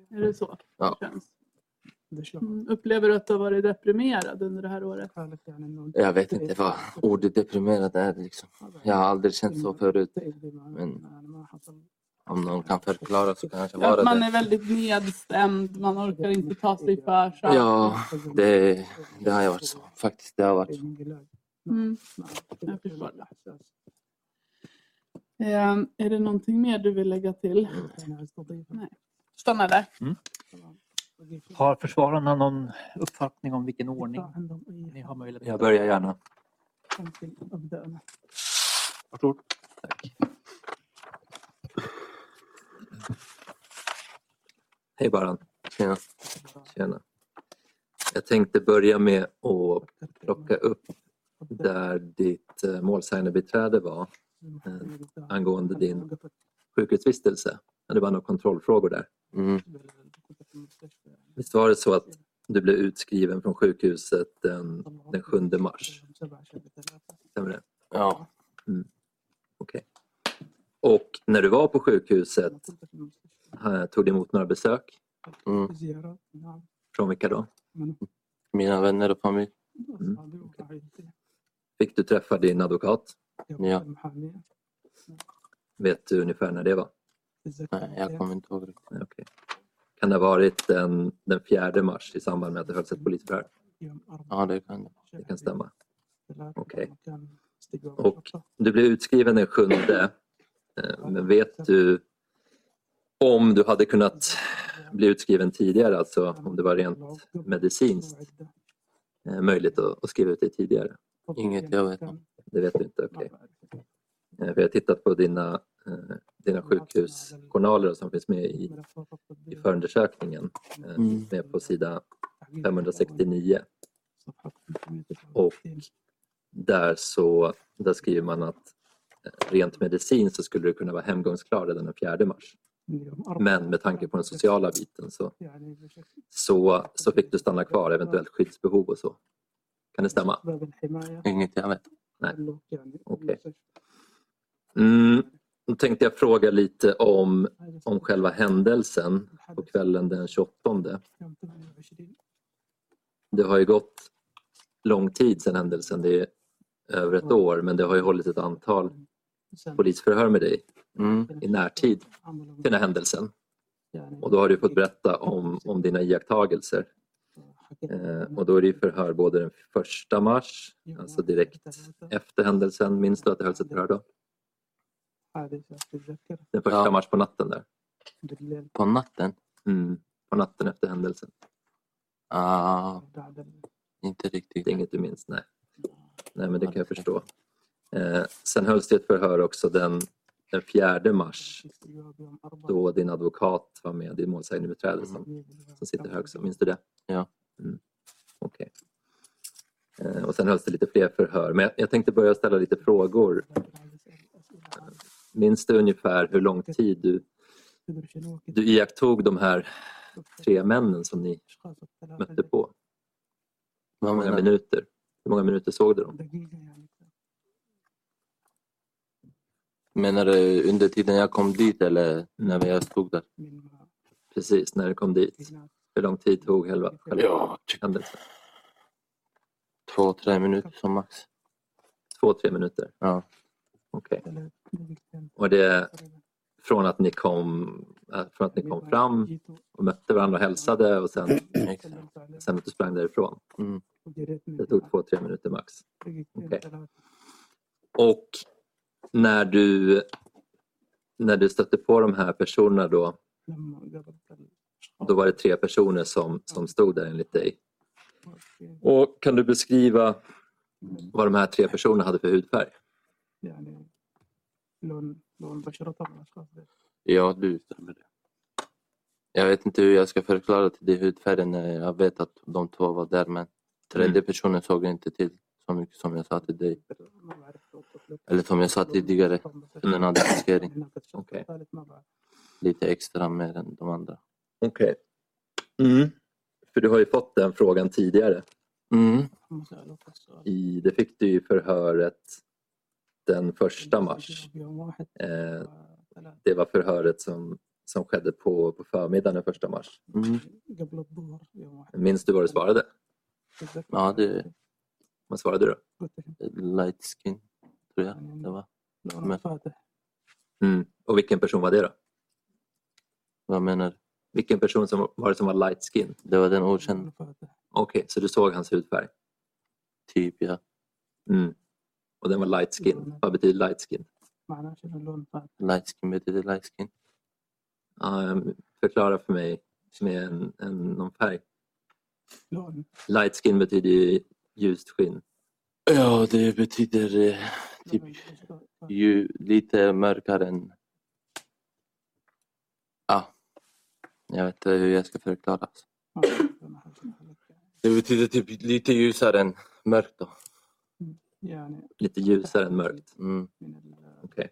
J: är det så?
D: Ja.
J: Känns. Mm. Upplever du att du har varit deprimerad under det här året?
D: Jag vet inte vad ordet deprimerad är liksom. Jag har aldrig känt så förut. Men om någon kan förklara så kanske
J: Att
D: vara
J: man
D: det.
J: är väldigt nedstämd, man orkar inte ta sig för sig.
D: Ja, det, det har jag varit så. Faktiskt, det har varit så.
J: Mm. Jag förstår det. Ehm, är det någonting mer du vill lägga till? Nej. Stanna där.
F: Har försvararna någon uppfattning om vilken ordning ni har möjlighet
K: Jag börjar gärna.
F: Varsågod.
K: Hej Baran.
D: Tjena.
K: Tjena. Jag tänkte börja med att plocka upp där ditt eh, målsägandebiträde var eh, angående din sjukhusvistelse. Ja, Det var några kontrollfrågor där. Visst var det så att du blev utskriven från sjukhuset den, den 7 mars? Stämmer det?
D: Ja.
K: Mm. Okej. Och när du var på sjukhuset, eh, tog du emot några besök? Från vilka då?
D: Mm. Mina vänner och familj.
K: Fick du träffa din advokat?
D: Ja.
K: Vet du ungefär när det var?
D: Nej, jag kommer inte ihåg riktigt.
K: Nej, okej. Kan det ha varit den, den 4 mars i samband med att det hölls ett polisförhör?
D: Ja, det kan det.
K: Det kan stämma. Okej. Och du blev utskriven den 7. eh, Men vet du om du hade kunnat bli utskriven tidigare, alltså om det var rent medicinskt eh, möjligt att, att skriva ut dig tidigare?
D: Inget jag vet om.
K: Det vet du inte, okej. Eh, För jag har tittat på dina, eh, dina sjukhusjournaler som finns med i, i förundersökningen. eh,
D: Mm.
K: finns med på sida 569. Och där, så, där skriver man att eh, rent medicin så skulle du kunna vara hemgångsklar redan den 4 mars. Men med tanke på den sociala biten så, så, så fick du stanna kvar, eventuellt skyddsbehov och så. Kan det stämma?
D: Inget jag vet.
K: Nej, okej. Mm, då tänkte jag fråga lite om, om själva händelsen på kvällen den 28. Det har ju gått lång tid sedan händelsen, det är över ett år, men det har ju hållit ett antal polisförhör med dig
D: Mm.
K: i närtid till den här händelsen. Och då har du fått berätta om, om dina iakttagelser. Eh, och då är det ju förhör både den 1 mars, alltså direkt efter händelsen, minns du att det hölls ett förhör då? Den första
D: Ja.
K: mars på natten där.
D: På natten?
K: Mm. På natten efter händelsen.
D: Ah, inte riktigt.
K: Det är inget du minns? Nej. Nej, men det kan jag förstå. Eh, sen hölls det ett förhör också den, den 4 mars då din advokat var med, din målsägandebiträde som, som sitter här också. Minns du det?
D: Ja.
K: Mm. Okej. Eh, och sen hölls det lite fler förhör. Men jag, jag tänkte börja ställa lite frågor. Eh, Minns du ungefär hur lång tid du, du iakttog de här tre männen som ni mötte på?
D: Vad
K: Hur många
D: menar du?
K: minuter? Hur många minuter såg du dem?
D: Menar du under tiden jag kom dit
K: Mm.
D: eller när jag stod där?
K: Precis, när du kom dit. Hur lång tid tog själva, själva
D: Ja,
K: händelsen?
D: Två, tre minuter som max.
K: Två, tre minuter?
D: Ja.
K: Okej. Och det från att ni kom, äh, från att ni kom fram och mötte varandra och hälsade och sen,
D: Exakt.
K: sen att du sprang därifrån.
D: Mm.
K: Det tog två, tre minuter max. Okej. Och när du, när du stötte på de här personerna då, då var det tre personer som, som stod där enligt dig. Och kan du beskriva
D: Mm.
K: vad de här tre personerna hade för hudfärg?
D: Ja, du stämmer det. Jag vet inte hur jag ska förklara till dig hudfärgen. när Jag vet att de två var där men tredje
K: Mm.
D: personen såg jag inte till. så mycket som jag sa till dig. Eller som jag sa tidigare, under en adressering.
K: Okej.
D: Lite extra mer än de andra.
K: Okej. Mm. För du har ju fått den frågan tidigare. Mm. I, det fick du i förhöret den första mars. Eh, det var förhöret som, som skedde på, på förmiddagen den första mars.
D: Mm.
K: Minns du vad du svarade?
D: Ja, det...
K: Vad svarade du då?
D: Light skin, tror jag det var. Men,
K: Mm. Och vilken person var det då?
D: vad menar du?
K: Vilken person som, var det som var light skin?
D: Det var den okända.
K: Okej, så du såg hans hudfärg?
D: Typ, ja.
K: Mm. Och den var light
D: Mm.
K: skin. Vad betyder light skin?
D: Light skin betyder light skin.
K: Ehm, förklara för mig med en, en, någon färg. Light skin betyder ju ljust skinn.
D: Ja, det betyder eh, typ ju lite mörkare än... Ah, jag vet inte hur jag ska förklara. Det betyder typ lite ljusare än mörkt. Då.
K: Lite ljusare än mörkt.
D: Mm.
K: Okej.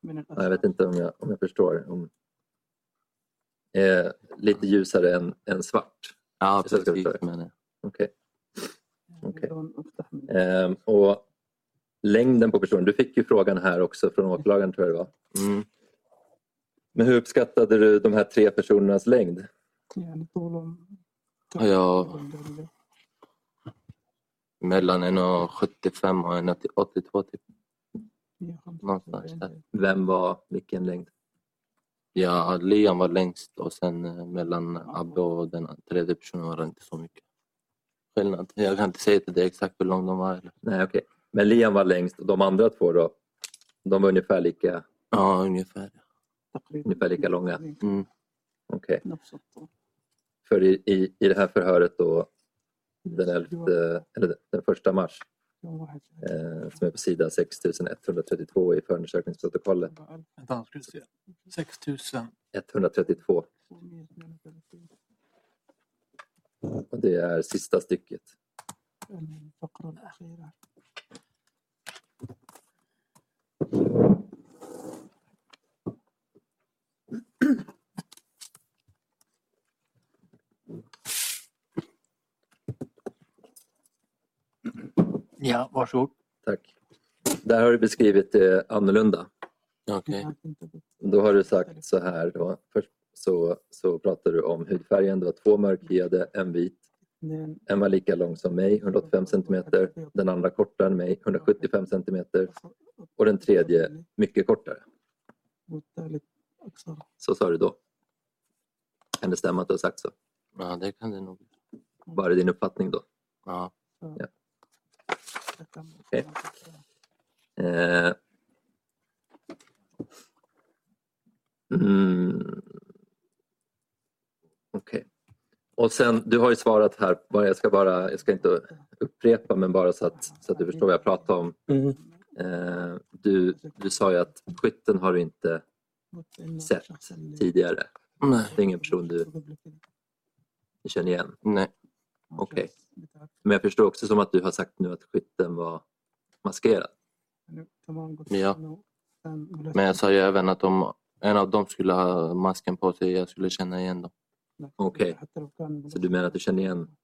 K: Ja, Jag vet inte om jag, om jag förstår. Om, eh, lite ljusare än, än svart.
D: Ja,
K: Så ska jag
D: precis.
K: förstå det.
D: Men, eh,
K: Okej. Okej. Ehm, och längden på personen. Du fick ju frågan här också från åklagaren tror jag det var.
D: mm.
K: Men hur uppskattade du de här tre personernas längd?
D: Ja, mellan 1,75 och 1,82 typ. Någonstans där.
K: Vem var vilken längd?
D: Ja, Liam var längst och sen eh, mellan Abbe och den tredje personen var det inte så mycket skillnad. Jag kan inte säga till dig exakt hur lång de var. Eller.
K: Nej, okej. Men Liam var längst och de andra två då? De var ungefär lika,
D: Ja, ungefär.
K: ungefär lika långa?
D: Mm.
K: Okej. För i, i, i det här förhöret då den, 11, eller den första mars eh, som är på sida 6132 i förundersökningsprotokollet.
F: Vänta, nu ska vi se. 6000.
K: 132. Och det är sista stycket.
F: Ja, varsågod.
K: Tack. Där har du beskrivit det annorlunda.
D: Okej.
K: Då har du sagt så här. Då. Först så, så pratar du om hudfärgen. Det var två mörkhyade, en vit. En var lika lång som mig, 185 centimeter. Den andra kortare än mig, 175 centimeter. Och den tredje mycket kortare. Så sa du då. Kan det stämma att du har sagt så?
D: Ja, det kan det nog.
K: Var det din uppfattning då?
D: Ja.
K: Ja. Okej. Eh. Mm. Okej. Och sen, du har ju svarat här, bara- jag ska, bara, jag ska inte upprepa men bara så att, så att du förstår vad jag pratar om. Eh, du, du sa ju att skytten har du inte sett tidigare.
D: Nej.
K: Det är ingen person du känner igen.
D: Nej.
K: Okej. Men jag förstår också som att du har sagt nu att skytten var maskerad.
D: Ja. Men jag sa ju även att om en av dem skulle ha masken på sig, jag skulle känna igen dem.
K: Okej. Så du menar att du känner igen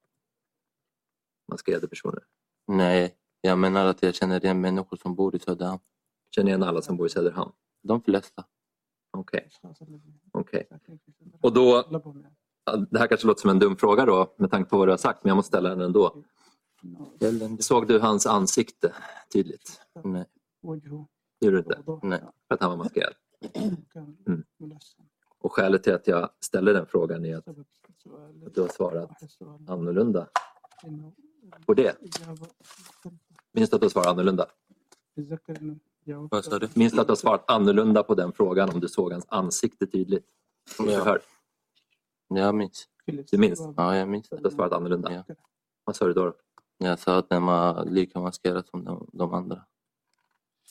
K: maskerade personer?
D: Nej, jag menar att jag känner igen människor som bor i Söderhamn.
K: Känner igen alla som bor i Söderhamn?
D: De flesta.
K: Okej. Okej. Och då, ja, det här kanske låter som en dum fråga då med tanke på vad du har sagt men jag måste ställa den ändå. Såg du hans ansikte tydligt?
D: Nej.
K: Gjorde du inte?
D: Nej.
K: För att han var maskerad? Mm. Och skälet till att jag ställer den frågan är att, att du har svarat annorlunda på det. Minns du att du har svarat annorlunda?
D: Vad sa du?
K: Minns du att du har svarat annorlunda på den frågan om du såg hans ansikte tydligt? Som du hör.
D: Jag minns.
K: Du minns?
D: Ja, jag minns.
K: Du har svarat annorlunda.
D: Ja.
K: Vad sa du då?
D: Jag sa att den var lika maskerad som de, de andra.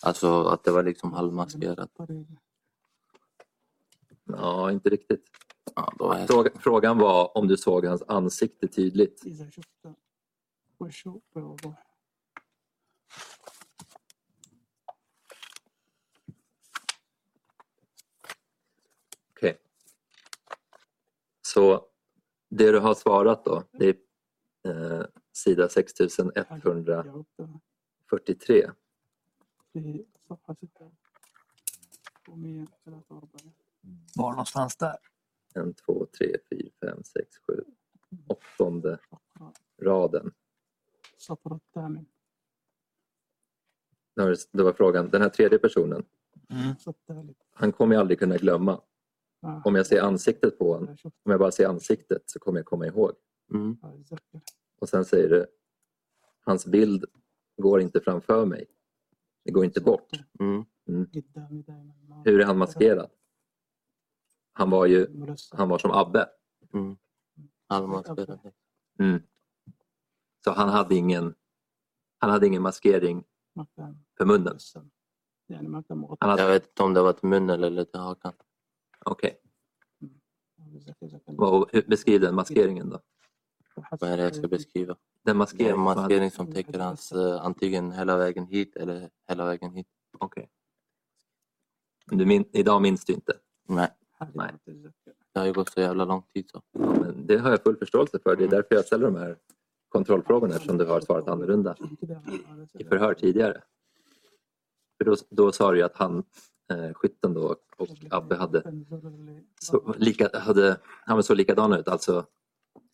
D: Alltså att det var liksom halvmaskerat.
K: Ja, inte riktigt.
D: Ja, då är
K: Fråga- Frågan var om du såg hans ansikte tydligt. det du har svarat då, det är eh, sida 6143.
F: Var någonstans där?
K: En, två, tre, fyra, fem, sex, sju. Åttonde raden. Då har du- Då var frågan, den här tredje personen, han kommer jag aldrig kunna glömma.
E: Ah.
K: Om jag ser ansiktet på honom, om jag bara ser ansiktet så kommer jag komma ihåg. Och sen säger du, hans bild går inte framför mig. Det går inte bort. Mm. Hur är han maskerad? Han var ju han var som Abbe.
D: Allemansspelare.
K: Mm. Så han hade ingen, han hade ingen maskering för munnen.
D: Jag vet inte om det var till munnen eller till hakan.
K: Okej. Vad- hur- Beskriv den maskeringen då.
D: Vad är det jag ska beskriva?
K: Den
D: Det är en
K: maskering,
D: maskering som täcker hans eh, antingen hela vägen hit eller hela vägen hit.
K: Okej. Du min, idag minns du inte?
D: Nej.
K: Nej.
D: Det har ju gått så jävla lång tid så.
K: Ja, men det har jag full förståelse för. Det är därför jag ställer de här kontrollfrågorna eftersom du har svarat annorlunda i förhör tidigare. För då, då sa du ju att han, eh, skytten då och Abbe hade så, lika, hade, han var så likadana ut, alltså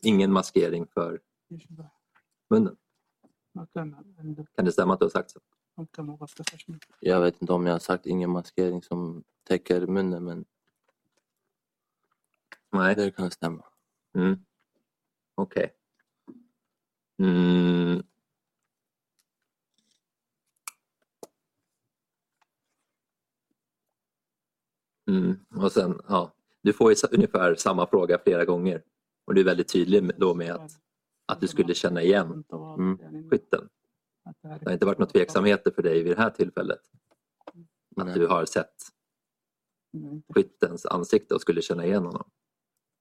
K: ingen maskering för munnen. Kan det stämma att du har sagt så?
D: Jag vet inte om jag har sagt ingen maskering som täcker munnen men
K: Nej.
D: det kan stämma.
K: Mm. Okej. Mm. Mm. Och sen, ja, du får ju sa- ungefär samma fråga flera gånger och du är väldigt tydlig med- då med att, att du skulle känna igen skytten. Det har inte varit några tveksamheter för dig vid det här tillfället? Att du har sett skyttens ansikte och skulle känna igen honom?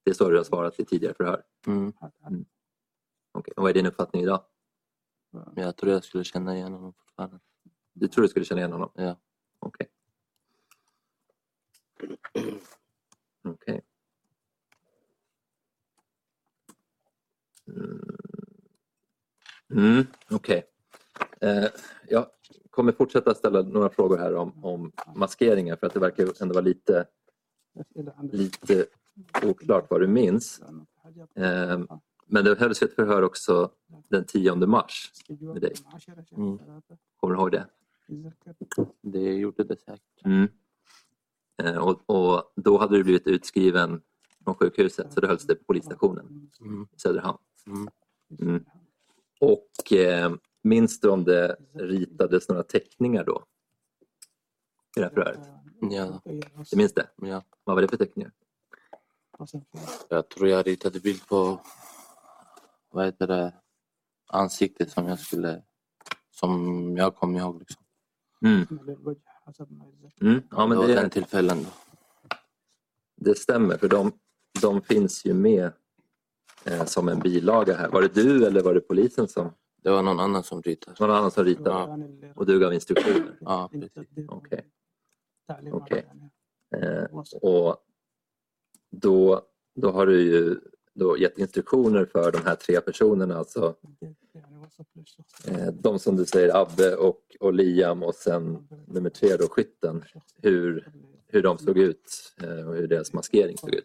K: Det är så du har svarat i tidigare förhör?
D: Mm.
K: Okej, och Vad är din uppfattning idag?
D: Men jag tror jag skulle känna igen honom fortfarande.
K: Du tror du skulle känna igen honom?
D: Ja.
K: Okej. Okej. Mm. Mm, Okej. Eh, jag kommer fortsätta ställa några frågor här om, om maskeringar för att det verkar ju ändå vara lite, lite oklart vad du minns. Eh, men det hölls ju ett förhör också den 10 mars med dig. Mm. Kommer du ihåg det?
D: Det gjorde det säkert.
K: Mm. Eh, Och, och då hade du blivit utskriven från sjukhuset så det hölls det på polisstationen i Söderhamn. Mm. Och eh, minns du om det ritades några teckningar då? I det här förhöret?
D: Ja.
K: Du minns det?
D: Ja.
K: Vad var det för teckningar? Mm.
D: Jag tror jag ritade bild på vad heter det, ansiktet som jag skulle som jag kom ihåg. Liksom.
K: Mm. Mm. Ja,
D: Ja,
K: men
D: det var
K: det,
D: den typ- tillfällen då.
K: det stämmer för de, de finns ju med eh, som en bilaga här. Var det du eller var det polisen som...
D: Det var någon annan som ritade.
K: Någon annan som ritade? Och du gav instruktioner?
D: Ja, precis.
K: Okej. Okej. Eh, och då, då har du ju då gett instruktioner för de här tre personerna. Alltså, eh, de som du säger Abbe och, och Liam och sen nummer tre då skytten. Hur, hur de såg ut eh, och hur deras maskering såg ut.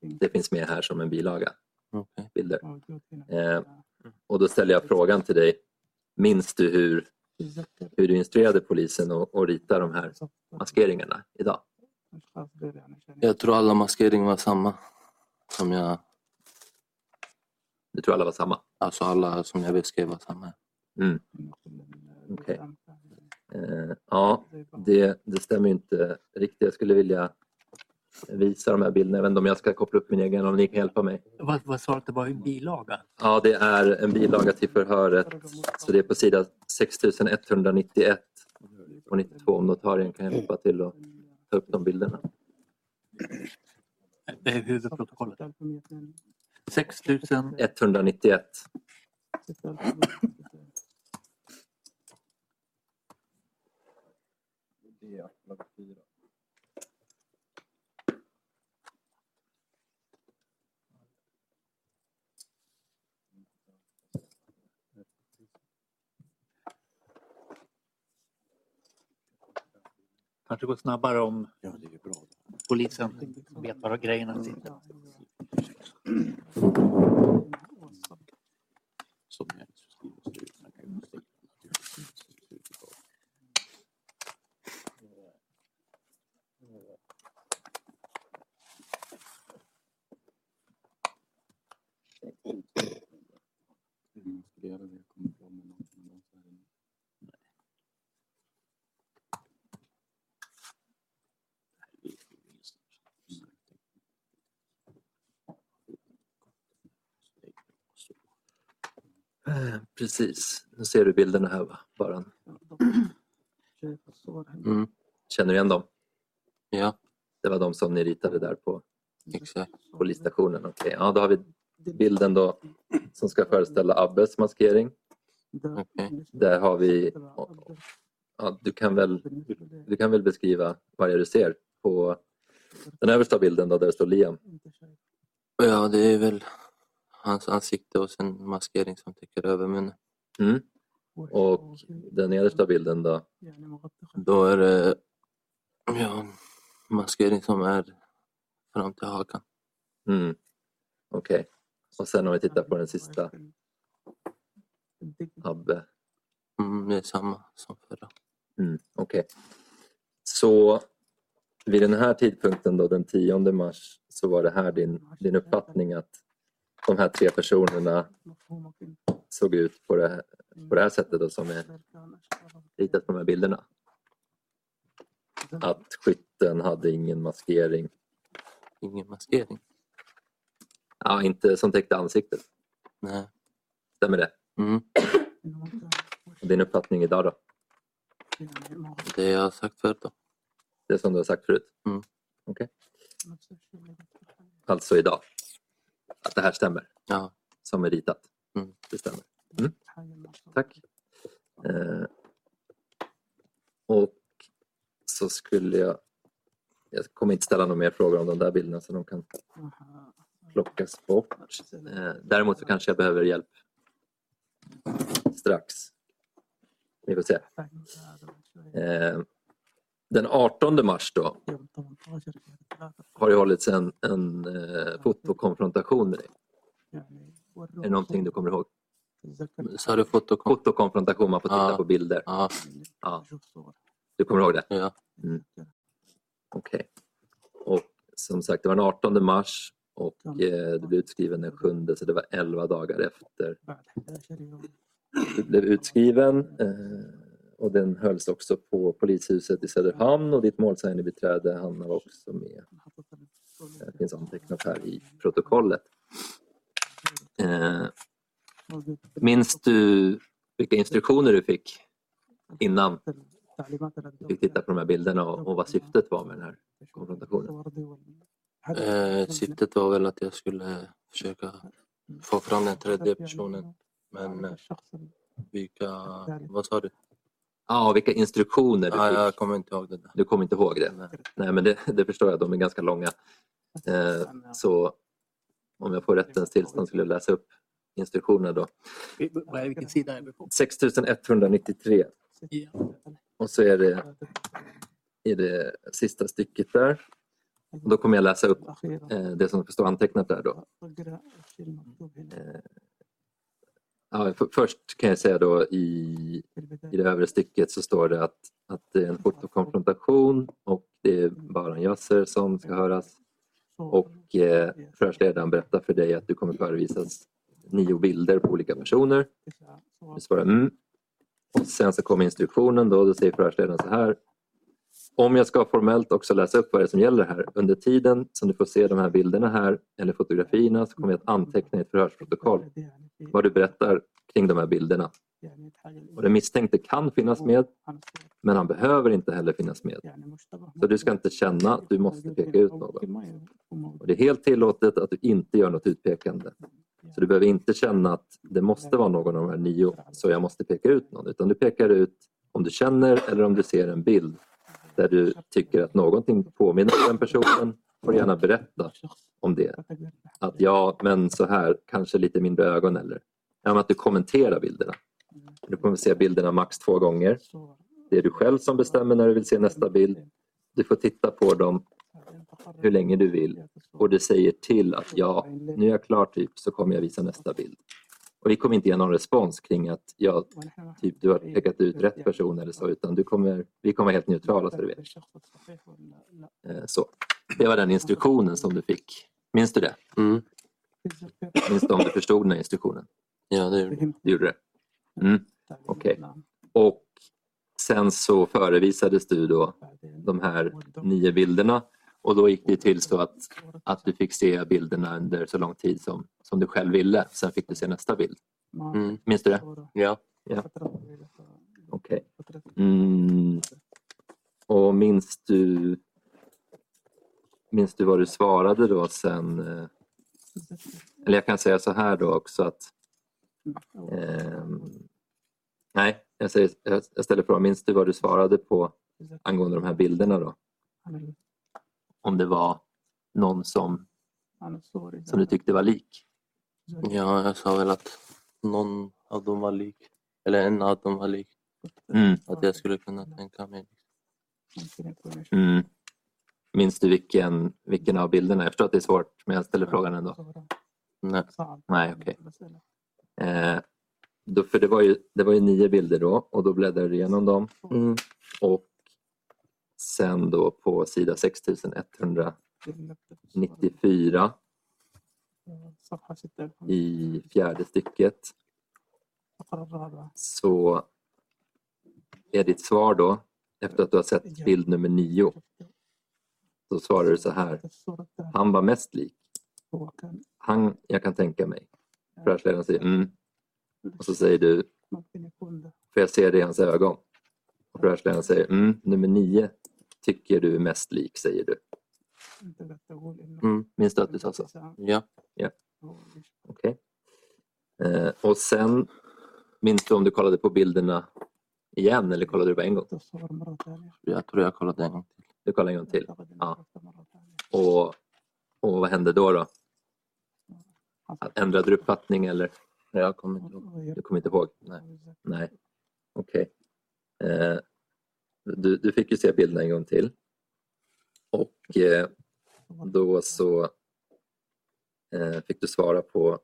K: Det finns med här som en bilaga. Bilder. Eh, och då ställer jag frågan till dig. Minns du hur, hur du instruerade polisen att att rita de här maskeringarna idag?
D: Jag tror alla maskeringar var samma. Som jag,
K: Du tror alla var samma?
D: alltså alla som jag beskrev var samma.
K: Mm. Okej. Eh, ja, det, det stämmer ju inte riktigt. Jag skulle vilja visa de här bilderna. Jag vet inte om jag ska koppla upp min egen, om ni kan hjälpa mig.
F: Vad, vad sa du att det var en bilaga?
K: Ja, det är en bilaga till förhöret. Så det är på sida 6191 och 92 om notarien kan hjälpa till att ta upp de bilderna.
F: Det är huvudprotokollet. 6000...
K: 191.
F: kanske går snabbare om polisen vet var grejerna sitter.
K: Eh, Precis, nu ser du bilderna här va? Bara. Mm. Känner du igen dem? Ja. Det var de som ni ritade där på polisstationen. Okej, ja då har vi bilden då som ska föreställa Abbes maskering. Där har vi... Ja, du, kan väl, du kan väl beskriva varje du ser på den översta bilden då, där det står Liam.
D: Ja, det är väl hans ansikte och sen maskering som täcker över munnen.
K: Mm. Och den nedersta bilden då?
D: Då är det ja, maskering som är fram till hakan.
K: Mm. Okej. Och sen om vi tittar på den sista. Abbe.
D: Mm, det är samma som förra.
K: Mm, Okej. Så vid den här tidpunkten då, den 10 mars, så var det här din, din uppfattning att de här tre personerna såg ut på det, här- på det här sättet då, som är ritat på de här bilderna? Att skytten hade ingen maskering?
D: Ingen maskering?
K: Ja, inte som täckte ansiktet.
D: Nej.
K: Stämmer det?
D: Mm.
K: Och din uppfattning idag då?
D: Det jag har sagt förut då.
K: Det är som du har sagt förut?
D: Mm.
K: Okej. Alltså idag? Att det här stämmer?
D: Ja.
K: Som är ritat?
D: Mm.
K: Det stämmer. Mm. Tack. Eh, och så skulle jag... Jag kommer inte ställa några mer frågor om de där bilderna så de kan plockas bort. Eh, däremot så kanske jag behöver hjälp strax. Vi får se. Eh, den 18 mars då har det hållits en, en eh, fotokonfrontation med dig. Är det någonting du kommer ihåg?
D: Sa du fotokom-
K: fotokonfrontation? Man får titta
D: Ja.
K: på bilder.
D: Ja.
K: Ja. Du kommer ihåg det?
D: Ja.
K: Mm. Okej. Och som sagt, det var den 18 mars och eh, du blev utskriven den 7 så det var 11 dagar efter du blev utskriven eh, och den hölls också på polishuset i Söderhamn och ditt målsägandebiträde Hanna var också med. Det finns antecknat här i protokollet. Eh, minns du vilka instruktioner du fick innan du fick titta på de här bilderna och, och vad syftet var med den här konfrontationen?
D: Eh, syftet var väl att jag skulle försöka få fram den tredje personen. Men eh, vilka... Vad sa du?
K: Ja, vilka instruktioner du
D: Ja,
K: fick.
D: jag kommer inte ihåg det där.
K: Du kommer inte ihåg det? Nej, men det, det förstår jag. De är ganska långa. Eh, så om jag får rättens tillstånd skulle jag läsa upp instruktionerna då.
F: Vad är- Vilken sida är vi på?
K: 6193
F: Ja.
K: och så är det i det sista stycket där. Och då kommer jag läsa upp eh, det som står antecknat där då. Eh, Ja, för, först kan jag säga då i, i det övre stycket så står det att, att det är en fotokonfrontation och det är Baran Yasser som ska höras. Och eh, förhörsledaren berättar för dig att du kommer förevisas nio bilder på olika personer. Du svarar mm. Och sen så kommer instruktionen då, då säger förhörsledaren så här. Om jag ska formellt också läsa upp vad det är som gäller här. Under tiden som du får se de här bilderna här eller fotografierna så kommer jag att anteckna i ett förhörsprotokoll vad du berättar kring de här bilderna. Och den misstänkte kan finnas med men han behöver inte heller finnas med. Så du ska inte känna att du måste peka ut någon. Och det är helt tillåtet att du inte gör något utpekande. Så du behöver inte känna att det måste vara någon av de här nio så jag måste peka ut någon. Utan du pekar ut om du känner eller om du ser en bild där du tycker att någonting påminner om den personen får du gärna berätta om det. Att ja, men så här, kanske lite mindre ögon eller ja, men att du kommenterar bilderna. Mm. Mm. Du kommer se bilderna max två gånger. Det är du själv som bestämmer när du vill se nästa bild Du får titta på dem hur länge du vill och det säger till att ja, nu är jag klar typ så kommer jag visa nästa bild. Och vi kommer inte ge någon respons kring att ja, typ, du har pekat ut rätt person eller så utan du kommer, vi kommer vara helt neutrala så du vet. Eh, Så. Det var den instruktionen som du fick. Minns du det?
D: Mm.
K: Minns du om du förstod den här instruktionen?
D: Ja, det gjorde
K: jag. Du gjorde det? Mm. Okej. Och sen så förevisades du då de här nio bilderna och då gick det till så att, att du fick se bilderna under så lång tid som, som du själv ville. Sen fick du se nästa bild.
D: Mm.
K: Minns du det?
D: Ja.
K: Ja. Okej. Mm. Och minns du, minns du vad du svarade då sen? eh, Eller jag kan säga så här då också att... ehm, nej, jag, säger, jag jag ställer frågan. Minns du vad du svarade på angående de här bilderna då? Om det var någon som, som du tyckte var lik?
D: Ja, jag sa väl att någon av dem var lik. Eller en av dem var lik.
K: Mm.
D: Att jag skulle kunna tänka mig.
K: Mm. Minns du vilken, vilken av bilderna? Jag förstår att det är svårt, men jag ställer frågan ändå.
D: Nej.
K: Nej, okej. Eh, då- för det var, ju, det var ju nio bilder då och då bläddrade du igenom dem. Och sen då på sida 6194 i fjärde stycket så är ditt svar då, efter att du har sett bild nummer nio, så svarar du så här. Han var mest lik. Han jag kan tänka mig. Affärsledaren säger mm. Och så säger du, för jag ser det i hans ögon. Och affärsledaren säger mm, nummer nio tycker du är mest lik, säger du. Mm. Minns du att du sa så?
D: Ja.
K: Ja. Okej. Eh, och sen, minns du om du kollade på bilderna igen eller kollade du bara en gång?
D: Jag tror jag kollade en gång till.
K: Du kollade en gång till? Ja. Och, och vad hände då? då? Ändrade du uppfattning eller? Jag kommer inte ihåg. Du kommer inte ihåg? Nej. Nej. Okej. Eh, du, du fick ju se bilden en gång till. Och eh, då så eh, fick du svara på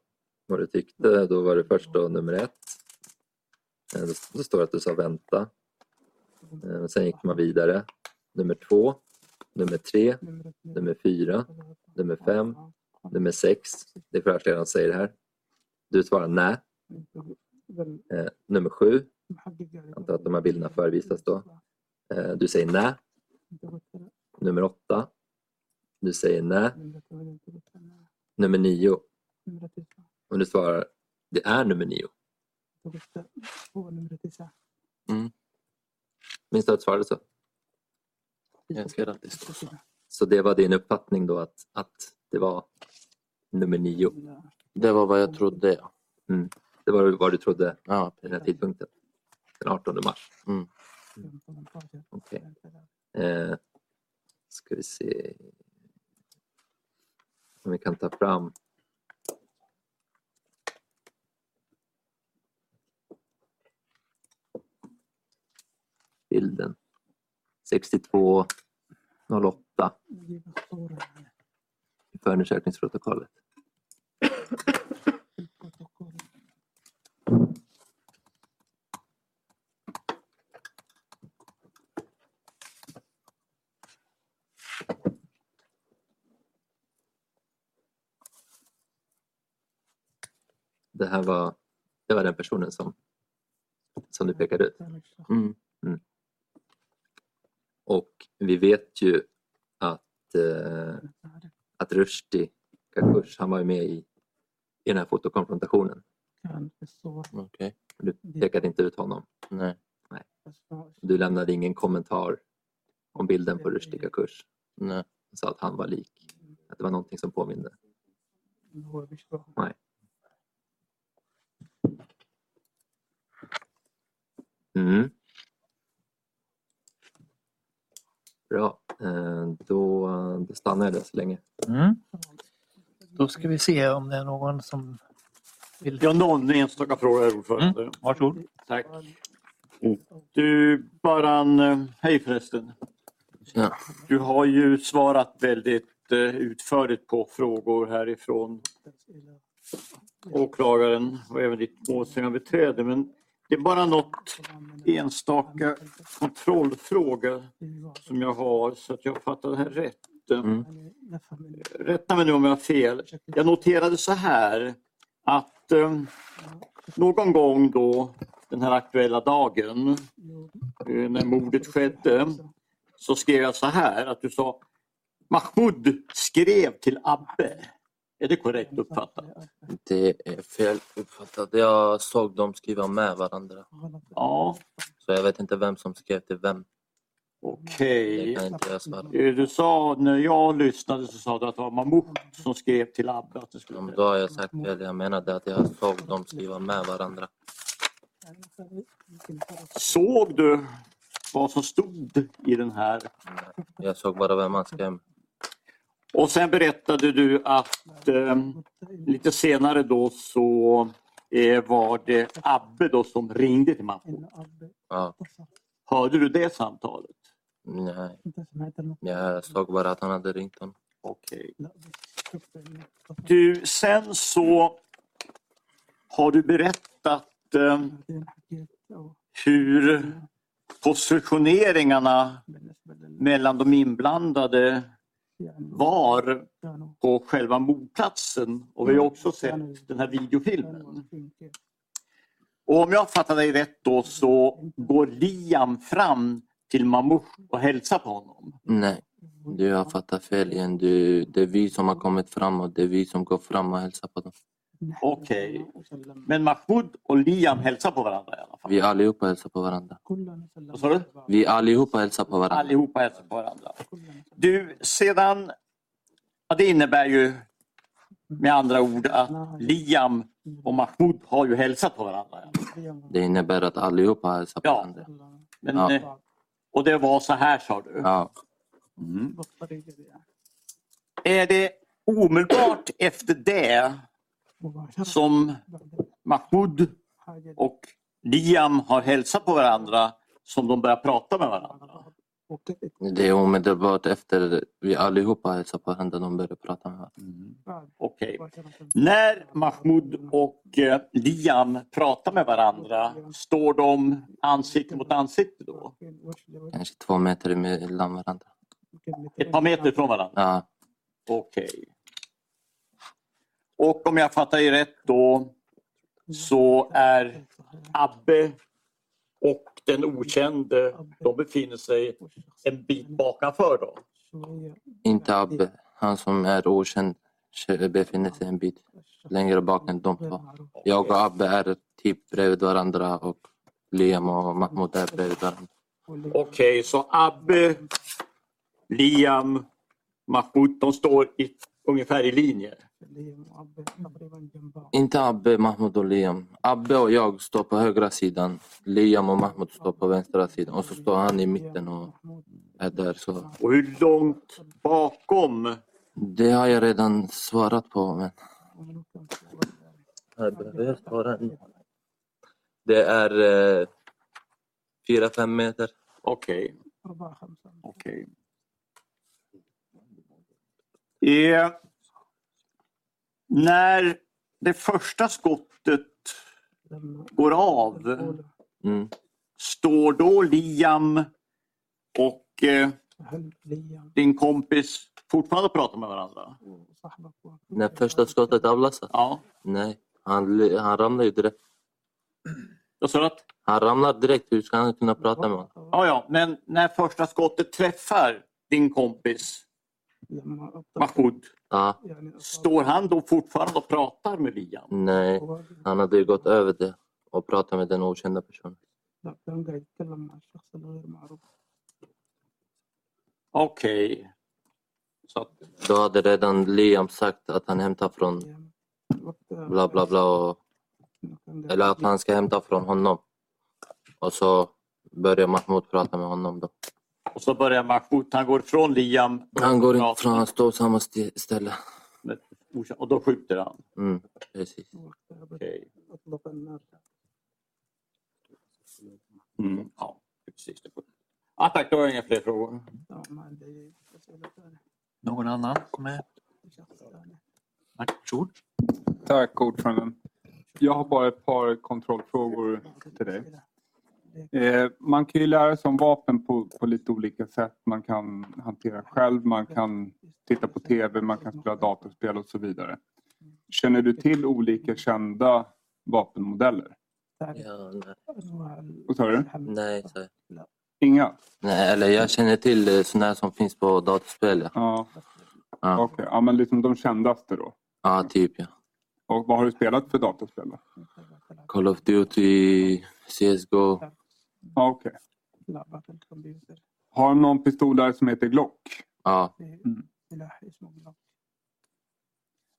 K: vad du tyckte. Då var det först då nummer ett. Eh, då, då står det att du sa vänta. Eh, sen gick man vidare. Nummer två, nummer tre, nummer fyra, nummer fem, nummer sex. Det är förhörsledaren som säger det här. Du svarar nej. Eh, nummer sju, jag antar att de här bilderna förevisas då. Eh, du säger nej. Nummer åtta, du säger nej. Nummer nio, och du svarar det är nummer nio. Minns du att du svarade så?
D: Jag önskar att det stod så.
K: Så det var din uppfattning då att, att det var nummer nio?
D: Det var vad jag trodde. Ja.
K: Mm. Det var vad du trodde vid den här tidpunkten, den 18 mars.
D: Mm.
K: Okej. Eh, ska vi se om vi kan ta fram... Bilden. 6208 i förundersökningsprotokollet. Det här var, det var den personen som, som du pekade ut.
D: Mm.
K: Mm. Och vi vet ju att, eh, att Rushdie Kakush, han var ju med i, i den här fotokonfrontationen.
D: Okej.
K: Du pekade inte ut honom.
D: Nej.
K: Nej. Du lämnade ingen kommentar om bilden på Rushdie Kakush.
D: Nej.
K: Du sa att han var lik. Att det var någonting som påminde. Nej. Mm. Bra, Eh, då, då stannar jag där så länge.
F: Mm. Då ska vi se om det är någon som...
L: Ja, någon enstaka fråga, herr ordförande.
F: Varsågod.
L: Tack. Du, Baran, eh, hej förresten.
D: Ja.
E: Du har ju svarat väldigt eh, utförligt på frågor härifrån åklagaren och även ditt målsägandebiträde. Men det är bara något enstaka kontrollfråga som jag har så att jag fattar det här rätt. Eh,
D: Mm.
E: Rätta mig nu om jag har fel. Jag noterade så här att eh, någon gång då den här aktuella dagen eh, när mordet skedde så skrev jag så här att du sa Mahmoud skrev till Abbe. Är det korrekt uppfattat?
D: Det är fel uppfattat. Jag såg dem skriva med varandra.
E: Ja.
D: Så jag vet inte vem som skrev till vem.
E: Okej.
D: Det kan inte jag svara på.
E: Eh, Du sa när jag lyssnade så sa du att det var Mahmoud som skrev till Abbe. Att det skulle...
D: Om Då har jag sagt fel. Jag menade att jag såg dem skriva med varandra.
E: Såg du vad som stod i den här?
D: Jag såg bara vem han skrev med.
E: Och sen berättade du att ehm, lite senare då så eh, var det Abbe då som ringde till Mahmoud.
D: Ja.
E: Hörde du det samtalet?
D: Nej. Jag alltså såg bara att han hade ringt honom.
E: Okej. Du, sen så har du berättat eh, hur positioneringarna mellan de inblandade var på själva mordplatsen. Och vi har
D: Mm.
E: också sett den här videofilmen. Och om jag fattar dig rätt då så går Liam fram till Mamouche och hälsar på honom.
D: Nej, du har fattat fel igen. Du, det är vi som har kommit fram och det är vi som går fram och hälsar på dem.
E: Okej. Men Mahmoud och Liam hälsar på varandra? ja.
D: Vi allihopa hälsar på varandra.
E: Vad sa du?
D: Vi allihopa hälsar på varandra.
E: Allihopa hälsar på varandra. Du, sedan... Ja, det innebär ju med andra ord att Liam och Mahmoud har ju hälsat på varandra. ja.
D: Det innebär att allihopa hälsar på
E: Ja.
D: varandra.
E: Men,
D: Ja.
E: eh, Och det var så här sa du?
D: Ja. Mm.
E: Eh. Är det omedelbart efter det som Mahmoud och Liam har hälsat på varandra som de börjar prata med varandra?
D: Det är omedelbart efter vi allihopa hälsar på varandra. De börjar prata med varandra.
E: Okej. När Mahmoud och eh, Liam pratar med varandra, står de ansikte mot ansikte då?
D: Kanske två meter emellan varandra.
E: Ett par meter från varandra?
D: Ja.
E: Okej. Och om jag fattar er rätt då så är Abbe och den okände, de befinner sig en bit bakanför då?
D: Inte Abbe. Han som är okänd tje- befinner sig en bit längre bak än de två. Jag och Abbe är typ bredvid varandra och Liam och Mahmoud är bredvid varandra.
E: Okej, så Abbe, Liam, Mahmoud, de står i, ungefär i linje?
D: Inte Abbe, Mahmoud och Liam. Abbe och jag står på högra sidan. Liam och Mahmoud står på vänstra sidan. Och så står han i mitten och är där. Så.
E: Och hur långt bakom?
D: Det har jag redan svarat på. Men... Det är eh, fyra, fem meter.
E: Okej. Okej. Eh, när det första skottet går av,
D: Mm.
E: står då Liam och eh, din kompis fortfarande och pratar med varandra?
D: När första skottet avlossas?
E: Ja.
D: Nej, han, han ramlar ju direkt.
E: Vad sa du? Att...
D: Han ramlar direkt. Hur ska han kunna prata med honom?
E: Ja, ja, men när första skottet träffar din kompis Mahmoud,
D: Ja,
E: står han då fortfarande och pratar med Liam?
D: nej, han hade ju gått över det och pratat med den okända personen.
E: Okej. Så att
D: Då hade redan Liam sagt att han hämtar från
E: eh,
D: bla bla bla. Och, eller att han ska hämta från honom. Och så börjar Mahmoud prata med honom. Då.
E: Och så börjar Mahmoud, han går ifrån Liam.
D: Han går inte från, han står på samma sti- ställe.
E: Och då skjuter han.
D: Mm, precis.
E: Okej. Mm. Ja, precis.
L: Ja, tack, då har jag inga fler frågor.
F: Någon annan som är... Varsågod.
E: Tack ordföranden. Jag har bara ett par kontrollfrågor till dig. Eh, Man kan ju lära sig om vapen på, på lite olika sätt. Man kan hantera själv, man kan titta på TV, man kan spela datorspel och så vidare. Känner du till olika kända vapenmodeller?
D: Ja, nej.
E: Vad sa du?
D: nej så.
E: Inga?
D: Nej, eller jag känner till sådana här som finns på datorspel. Ja,
E: Ja. Okej, ja, men liksom de kändaste då.
D: ja typ ja.
E: Och vad har du spelat för datorspel då?
D: Call of Duty, CSGO.
E: Ja, Okej. Har de någon pistol där som heter Glock?
D: Ja.
E: Mm.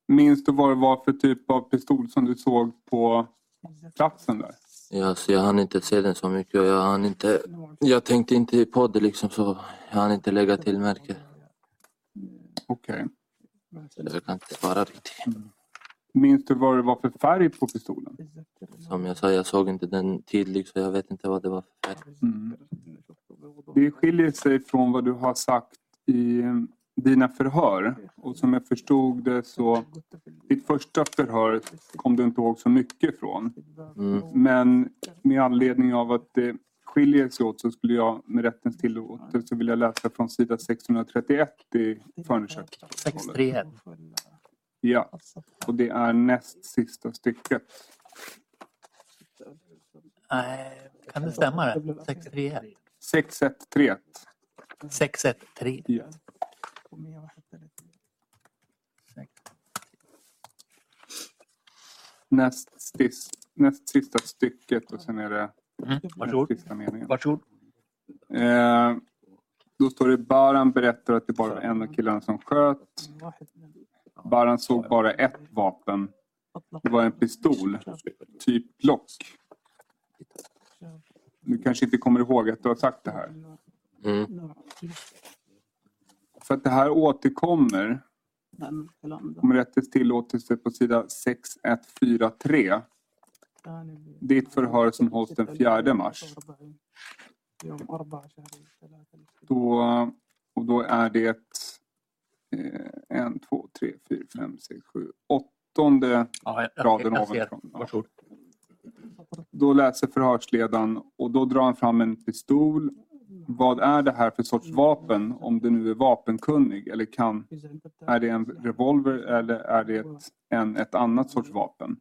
E: Minns du vad det var för typ av pistol som du såg på platsen där?
D: Ja, så jag hann inte se den så mycket. och Jag, hann inte, jag tänkte inte på det liksom så jag hann inte lägga till märke.
E: Okej.
D: Så Jag kan inte svara riktigt.
E: Minns du vad det var för färg på pistolen?
D: Som jag sa, jag såg inte den tydligt så jag vet inte vad det var för färg.
E: Mm. Det skiljer sig från vad du har sagt i dina förhör. Och som jag förstod det så, ditt första förhör kom du inte ihåg så mycket från.
D: Mm.
E: Men med anledning av att det skiljer sig åt så skulle jag med rättens tillåtelse vilja läsa från sida 631 i förundersökningsprotokollet.
F: 631.
E: Ja, och det är näst sista stycket.
F: Nej, kan det stämma det? 631?
E: 613.
F: 613.
E: Ja. Näst, stis, näst sista stycket och sen är det
F: varsågod.
E: näst sista meningen.
F: Varsågod.
E: Eh, då står det Baran berättar att det bara var en av killarna som sköt. Baran såg bara ett vapen. Det var en pistol, typ Glock. Du kanske inte kommer ihåg att du har sagt det här. För att det här återkommer om rättens tillåtelse på sida 6143. Ditt förhör som hålls den 4 mars. Då, och då är det eh, en, två, tre, fyra, fem, sex, sju, åttonde
F: Ja, jag, jag,
E: raden
F: jag ser.
E: ovanifrån.
F: Varsågod.
E: Då läser förhörsledaren och då drar han fram en pistol. Vad är det här för
F: Mm.
E: sorts vapen om du nu är vapenkunnig eller kan? Är det en revolver eller är det ett, en, ett annat sorts
F: Mm.
E: vapen?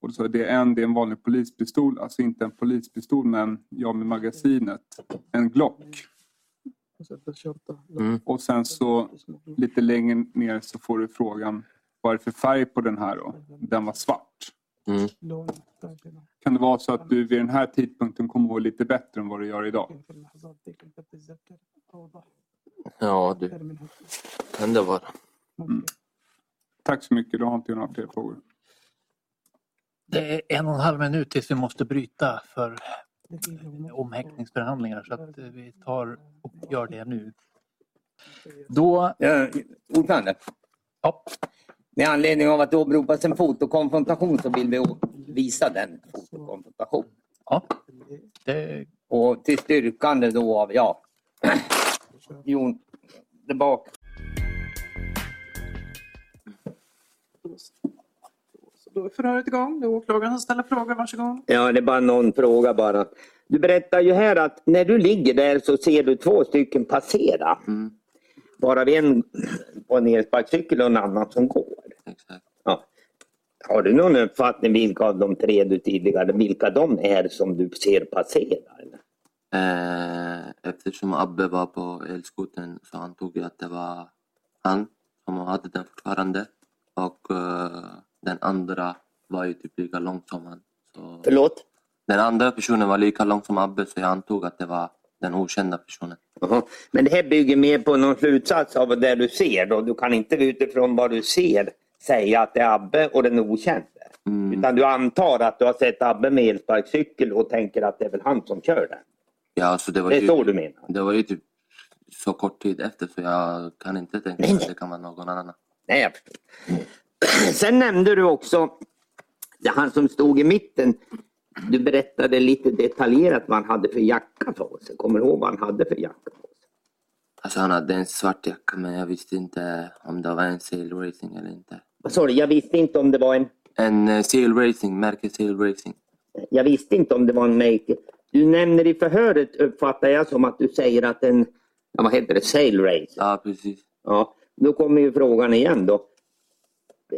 E: Och då sa jag, det är en, det är en vanlig polispistol, alltså inte en polispistol men jag
F: Mm.
E: med magasinet, en Glock.
G: Mm.
E: Och sen så lite längre ner så får du frågan, vad är det för färg på den här då? Den var svart. Kan det vara så att du vid den här tidpunkten kommer ihåg lite bättre än vad du gör idag?
D: Ja, du.
F: Mm.
D: Kan det vara.
M: Mm.
E: Tack så mycket, då har inte jag några fler frågor.
F: Det är en och en halv minut tills vi måste bryta för omhäktningsförhandlingar så att eh, vi tar och gör det nu. Då...
C: ordförande.
F: Ja.
C: Med anledning av att det åberopas en fotokonfrontation så vill vi å- visa den fotokonfrontationen.
F: Ja. Det...
C: Och till styrkande då av, ja, Jon, det bak.
M: Då är förhöret igång. Det är åklagaren som ställer frågor. Varsågod.
C: Ja, det är bara någon fråga bara. Du berättar ju här att när du ligger där så ser du två stycken passera. Varav en på en elsparkcykel och en annan som går. Ja. Har du någon uppfattning vilka av de tre du tidigare, vilka de är som du ser passera?
D: Eh, eftersom Abbe var på elskoten så antog jag att det var han som hade den fortfarande. Och eh, den andra var ju typ lika lång som han. Så...
C: Förlåt?
D: Den andra personen var lika lång som Abbe så jag antog att det var den okända personen.
C: Jaha. Men det här bygger mer på någon slutsats av det du ser då. Du kan inte utifrån vad du ser säga att det är Abbe och den okände. Utan du antar att du har sett Abbe med elsparkcykel och tänker att det är väl han som kör den.
D: Ja, så det var
C: Det är
D: ju,
C: så du menar?
D: Det var ju typ så kort tid efter så jag kan inte tänka mig att det kan vara någon annan.
C: Nej, jag förstår. Sen nämnde du också det han som stod i mitten. du berättade lite detaljerat vad han hade för jacka på sig. Kommer du ihåg vad han hade för jacka?
F: Alltså han hade en svart jacka men jag visste inte om det var en Sail Racing eller inte.
C: Vad sa du? Jag visste inte om det var en...
F: En eh, Sail Racing, märket Sail Racing.
C: Jag visste inte om det var en Maker. Du nämner i förhöret uppfattar jag som att du säger att en... Ja, vad heter det? Sail Race.
F: Ja, precis.
C: Ja, då kommer ju frågan igen då.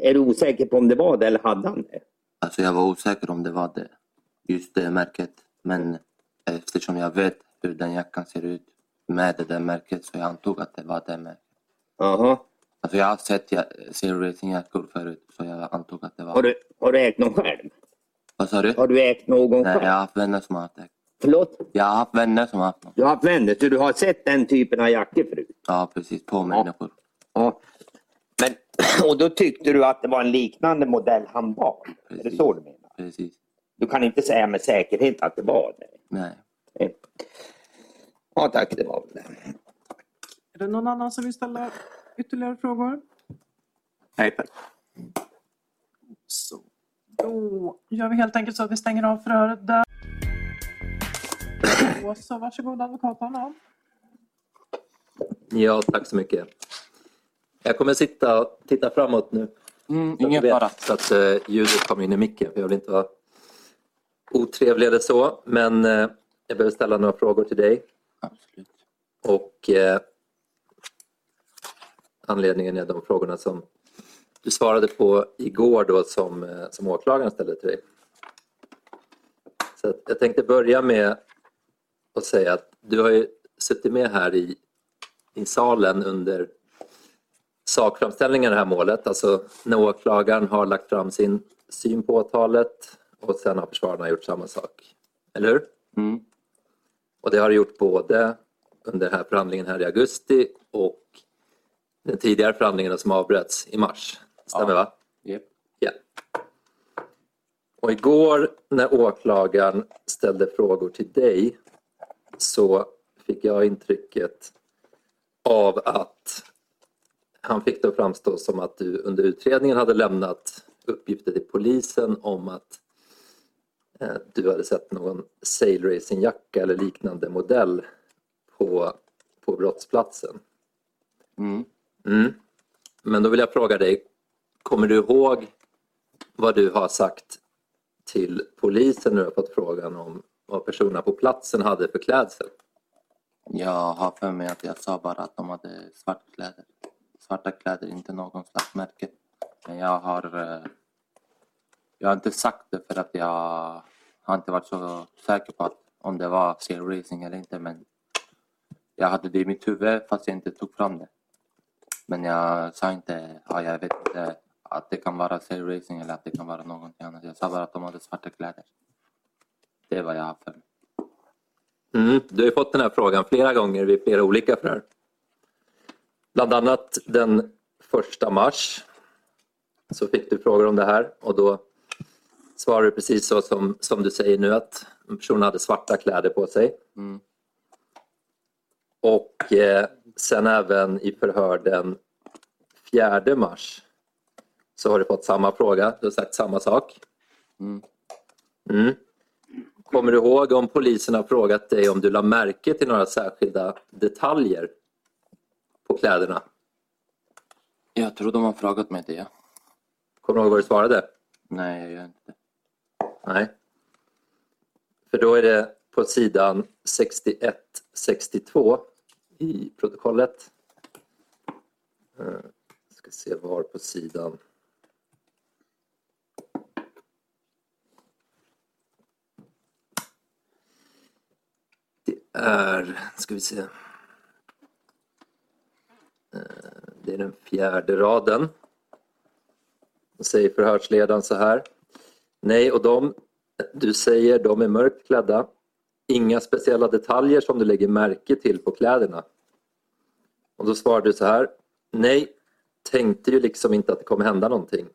C: Är du osäker på om det var det eller hade han det?
F: Alltså jag var osäker om det var det, just det märket. Men eftersom jag vet hur den jackan ser ut med det där märket så jag antog att det var det märket.
C: Aha.
F: Alltså jag har sett ja- Zero Racing-jackor förut så jag antog att det var...
C: Har du, har du ägt någon själv?
F: Vad sa du?
C: Har du ägt någon
F: Nej,
C: själv?
F: jag har haft vänner som har haft det.
C: Förlåt?
F: Jag har haft vänner som har haft
C: Du har haft vänner, så du har sett den typen av jackor förut?
F: Ja, precis. På människor.
C: Ja. Men, och då tyckte du att det var en liknande modell han var? Är det så du menar?
F: Precis.
C: Du kan inte säga med säkerhet att det var det?
F: Nej.
C: Ja tack, det var väl det.
J: Är det någon annan som vill ställa ytterligare frågor?
N: Nej, tack.
J: Så. Då gör vi helt enkelt så att vi stänger av förhöret där. Då Så varsågod advokat Anna.
D: Ja, tack så mycket. Jag kommer sitta och titta framåt nu.
F: Mm,
D: ingen fara. Så att eh, ljudet kommer in i micken. för Jag vill inte vara otrevligare så. Men eh, jag behöver ställa några frågor till dig. Och eh, anledningen är de frågorna som du svarade på igår då som, eh, som åklagaren ställde till dig. Så att jag tänkte börja med att säga att du har ju suttit med här i, i salen under sakframställningen i det här målet, alltså när åklagaren har lagt fram sin syn på åtalet och sen har försvararna gjort samma sak. Eller hur? Och det har det gjort både under den här förhandlingen här i augusti och den tidigare förhandlingen som avbröts i mars. Stämmer va?
F: Japp.
D: Ja. Och igår när åklagaren ställde frågor till dig så fick jag intrycket av att han fick det att framstå som att du under utredningen hade lämnat uppgifter till polisen om att eh, du hade sett någon sailracingjacka eller liknande modell på, på brottsplatsen.
F: Mm.
D: Mm. Men då vill jag fråga dig, kommer du ihåg vad du har sagt till polisen när du har fått frågan om vad personerna på platsen hade för klädsel?
F: Jag har för mig att jag sa bara att de hade svarta kläder. Svarta kläder, inte någon slags märke. Men jag har... eh, Jag har inte sagt det för att jag har inte varit så säker på att, om det var zero racing eller inte. Men jag hade det i mitt huvud fast jag inte tog fram det. Men jag sa inte, ja, jag vet inte att det kan vara zero racing eller att det kan vara någonting annat. Jag sa bara att de hade svarta kläder. Det var jag har för mig.
D: Mm, du har ju fått den här frågan flera gånger vid flera olika förhör. Bland annat den 1 mars så fick du frågor om det här och då svarade du precis så som, som du säger nu att personen hade svarta kläder på sig.
F: Mm.
D: Och eh, sen även i förhör den 4 mars så har du fått samma fråga, du har sagt samma sak.
F: Mm.
D: Mm. Kommer du ihåg om polisen har frågat dig om du la märke till några särskilda detaljer på kläderna?
F: Jag tror de har frågat mig det. ja.
D: Kommer du ihåg vad du svarade?
F: Nej, jag gör inte det.
D: Nej. För då är det på sidan 61-62 i protokollet. Eh, ska se var på sidan. Det är, ska vi se. Eh, Det är den fjärde raden. Då säger förhörsledaren så här. Nej, och de du säger de är mörkt klädda. Inga speciella detaljer som du lägger märke till på kläderna. Och då svarar du så här. Nej, tänkte ju liksom inte att det kommer hända någonting.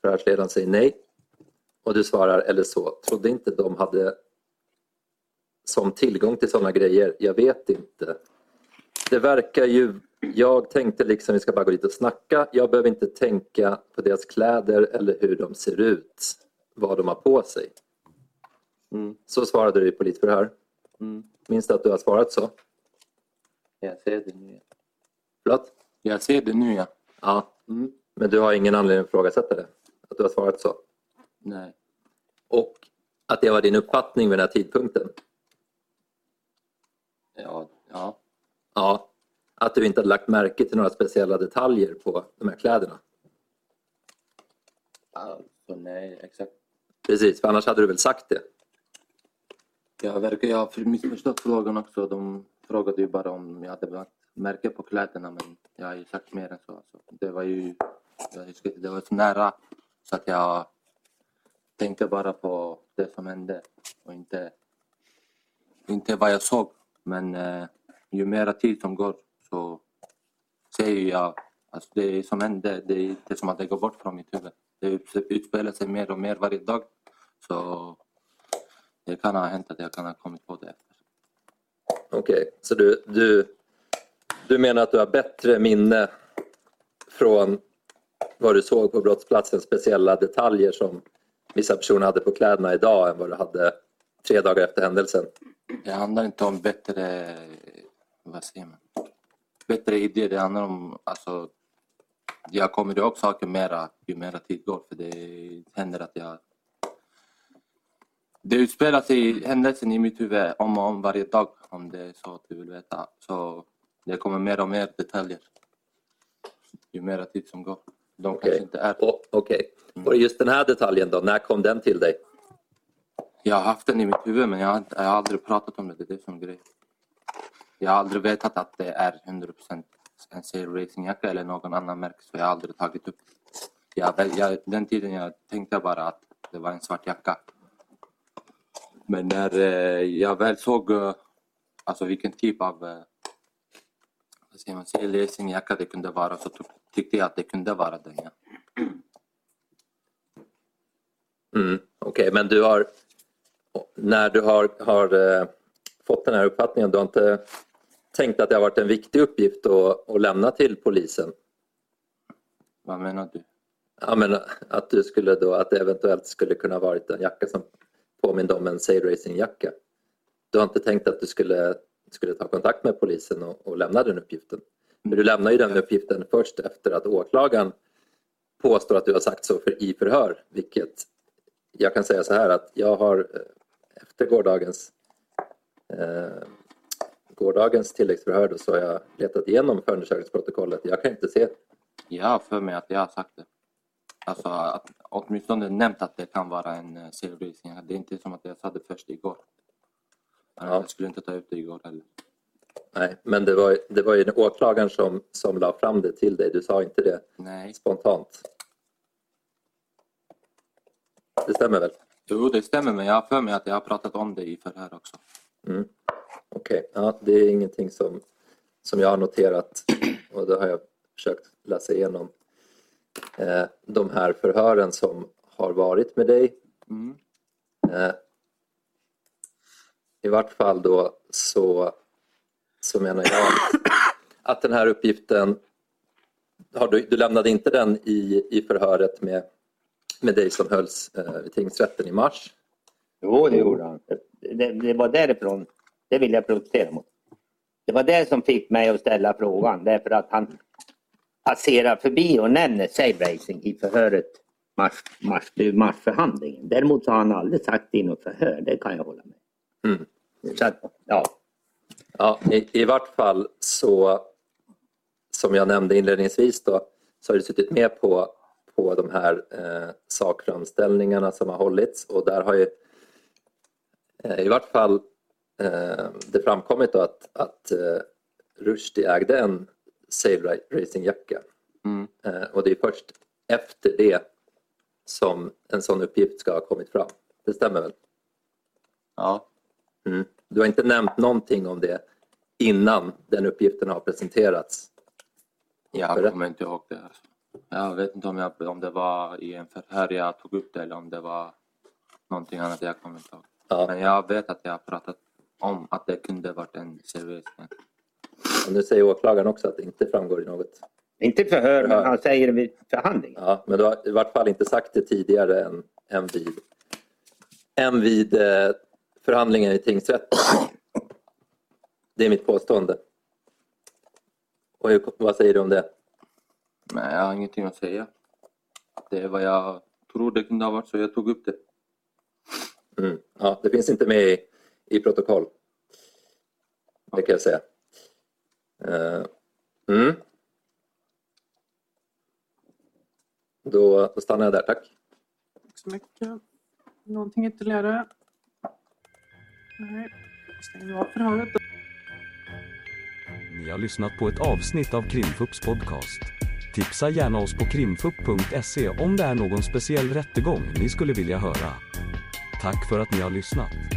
D: Förhörsledaren säger nej. Och du svarar eller så. Trodde inte de hade som tillgång till sådana grejer. Jag vet inte. Det verkar ju... Jag tänkte liksom vi ska bara gå dit och snacka. Jag behöver inte tänka på deras kläder eller hur de ser ut. Vad de har på sig.
K: Så svarade du i politförhör.
D: Mm.
K: Minns du att du har svarat så?
D: Jag ser det nu.
K: Förlåt?
D: Jag ser det nu, ja.
K: Ja.
D: Mm.
K: Men du har ingen anledning att ifrågasätta det? Att du har svarat så?
D: Nej.
K: Och att det var din uppfattning vid den här tidpunkten?
D: Ja. ja.
K: Ja. Att du inte hade lagt märke till några speciella detaljer på de här kläderna?
D: Alltså, nej, exakt.
K: Precis, för annars hade du väl sagt det?
D: Jag verkar jag har missförstått frågan också. De frågade ju bara om jag hade lagt märke på kläderna men jag har ju sagt mer än så. Alltså, det var ju jag huskar inte, det var så nära så att jag tänkte bara på det som hände och inte, inte vad jag såg. Men eh, ju mer tid som går så ser ju jag alltså det som hände, det är inte som att det går bort från mitt huvud. Det ut- utspelar sig mer och mer varje dag. Så det kan ha hänt att jag kan ha kommit på det.
K: Okej, så du, du, du menar att du har bättre minne från vad du såg på brottsplatsen, speciella detaljer som vissa personer hade på kläderna idag än vad du hade tre dagar efter händelsen?
D: Det handlar inte om bättre, vad säger man? Bättre idéer, det handlar om alltså, jag kommer ihåg saker mera ju mera tid går för det händer att jag det utspelar sig händelsen i mitt huvud om och om varje dag om det är så att du vill veta. Så det kommer mer och mer detaljer ju mera tid som går. De kanske inte är...
K: Oh, Okej, var det just den här detaljen då? När kom den till dig?
D: Jag har haft den i mitt huvud men jag har, inte- jag har aldrig pratat om det. Det är det som är grejen. Jag har aldrig vetat att det är 100% en Sail Racing-jacka eller någon annan märke så jag har aldrig tagit upp. Jag, väl- jag, den tiden jag tänkte bara att det var en svart jacka. Men när eh, jag väl såg eh, alltså vilken typ av eh, vad säger man, Sail Racing-jacka det kunde vara så tyck- tyckte jag att det kunde vara den. Ja.
K: Mm, Okej, men du har när du har, har eh, fått den här uppfattningen, du har inte tänkt att det har varit en viktig uppgift att, att lämna till polisen?
D: Vad menar du?
K: Ja, men att, du skulle då, att det eventuellt skulle kunna varit en jacka som påminner om en sailracing-jacka. Du har inte tänkt att du skulle, skulle ta kontakt med polisen och, och lämna den uppgiften? Men du lämnar ju den
D: Mm.
K: uppgiften först efter att åklagaren påstår att du har sagt så för, i förhör, vilket jag kan säga så här att jag har eh, efter gårdagens eh, gårdagens tilläggsförhör då, så har jag letat igenom förundersökningsprotokollet. Jag kan inte se
D: Jag har för mig att jag har sagt det. Alltså att, åtminstone nämnt att det kan vara en seriebristning. Det är inte som att jag sa det först igår. Jag skulle inte ta upp det igår heller.
K: Nej, men det var, det var ju den åklagaren som, som la fram det till dig. Du sa inte det spontant. Det stämmer väl?
D: Jo, det stämmer men jag har för mig att jag har pratat om det i förhör också.
K: Mm. Okej, ja, det är ingenting som, som jag har noterat och det har jag försökt läsa igenom. Eh, de här förhören som har varit med dig.
D: Mm.
K: Eh, I vart fall då så, så menar jag att, att den här uppgiften, har du, du lämnade inte den i, i förhöret med, med dig som hölls eh, vid tingsrätten i mars?
C: Jo, det gjorde han. Det, det var därifrån, det vill jag protestera mot. Det var det som fick mig att ställa frågan därför att han passerar förbi och nämner Sabracing i förhöret mars, mars, marsförhandlingen. Däremot så har han aldrig sagt det i något förhör, det kan jag hålla med
K: Mm.
C: Så att, ja.
K: Ja, i, I vart fall så, som jag nämnde inledningsvis, då, så har du suttit med på, på de här eh, sakframställningarna som har hållits och där har ju eh, i vart fall eh, det framkommit då att, att eh, Rushdie ägde en Sail Racing-jacka.
D: Mm.
K: Eh, och det är först efter det som en sån uppgift ska ha kommit fram. Det stämmer väl?
D: Ja.
K: Mm. Du har inte nämnt någonting om det innan den uppgiften har presenterats?
D: Jag kommer inte ihåg det. Alltså. Jag vet inte om, jag, om det var i en förhör jag tog upp det eller om det var någonting annat. Jag kommer inte ihåg. Men jag vet att jag har pratat om att det kunde varit en seriebristning.
K: Och nu säger åklagaren också att det inte framgår i något.
C: Inte förhör, men han säger det vid förhandling.
K: Ja, men du har i vart fall inte sagt det tidigare än, än vid, än vid eh,
D: förhandlingar i tingsrätten. Det är mitt påstående. Och hur, vad säger du om det?
O: Nej, jag har ingenting att säga. Det är vad jag tror det kunde ha varit, så jag tog upp det.
D: Mm. Ja, det finns inte med i, i protokoll. Det kan jag säga. Eh, mm. då, då stannar jag där, tack.
J: Tack så mycket. Någonting ytterligare? Nej, stänger vi av förhöret. då.
A: Ni har lyssnat på ett avsnitt av Krimfupps podcast. Tipsa gärna oss på krimfupp.se om det är någon speciell rättegång ni skulle vilja höra. Tack för att ni har lyssnat.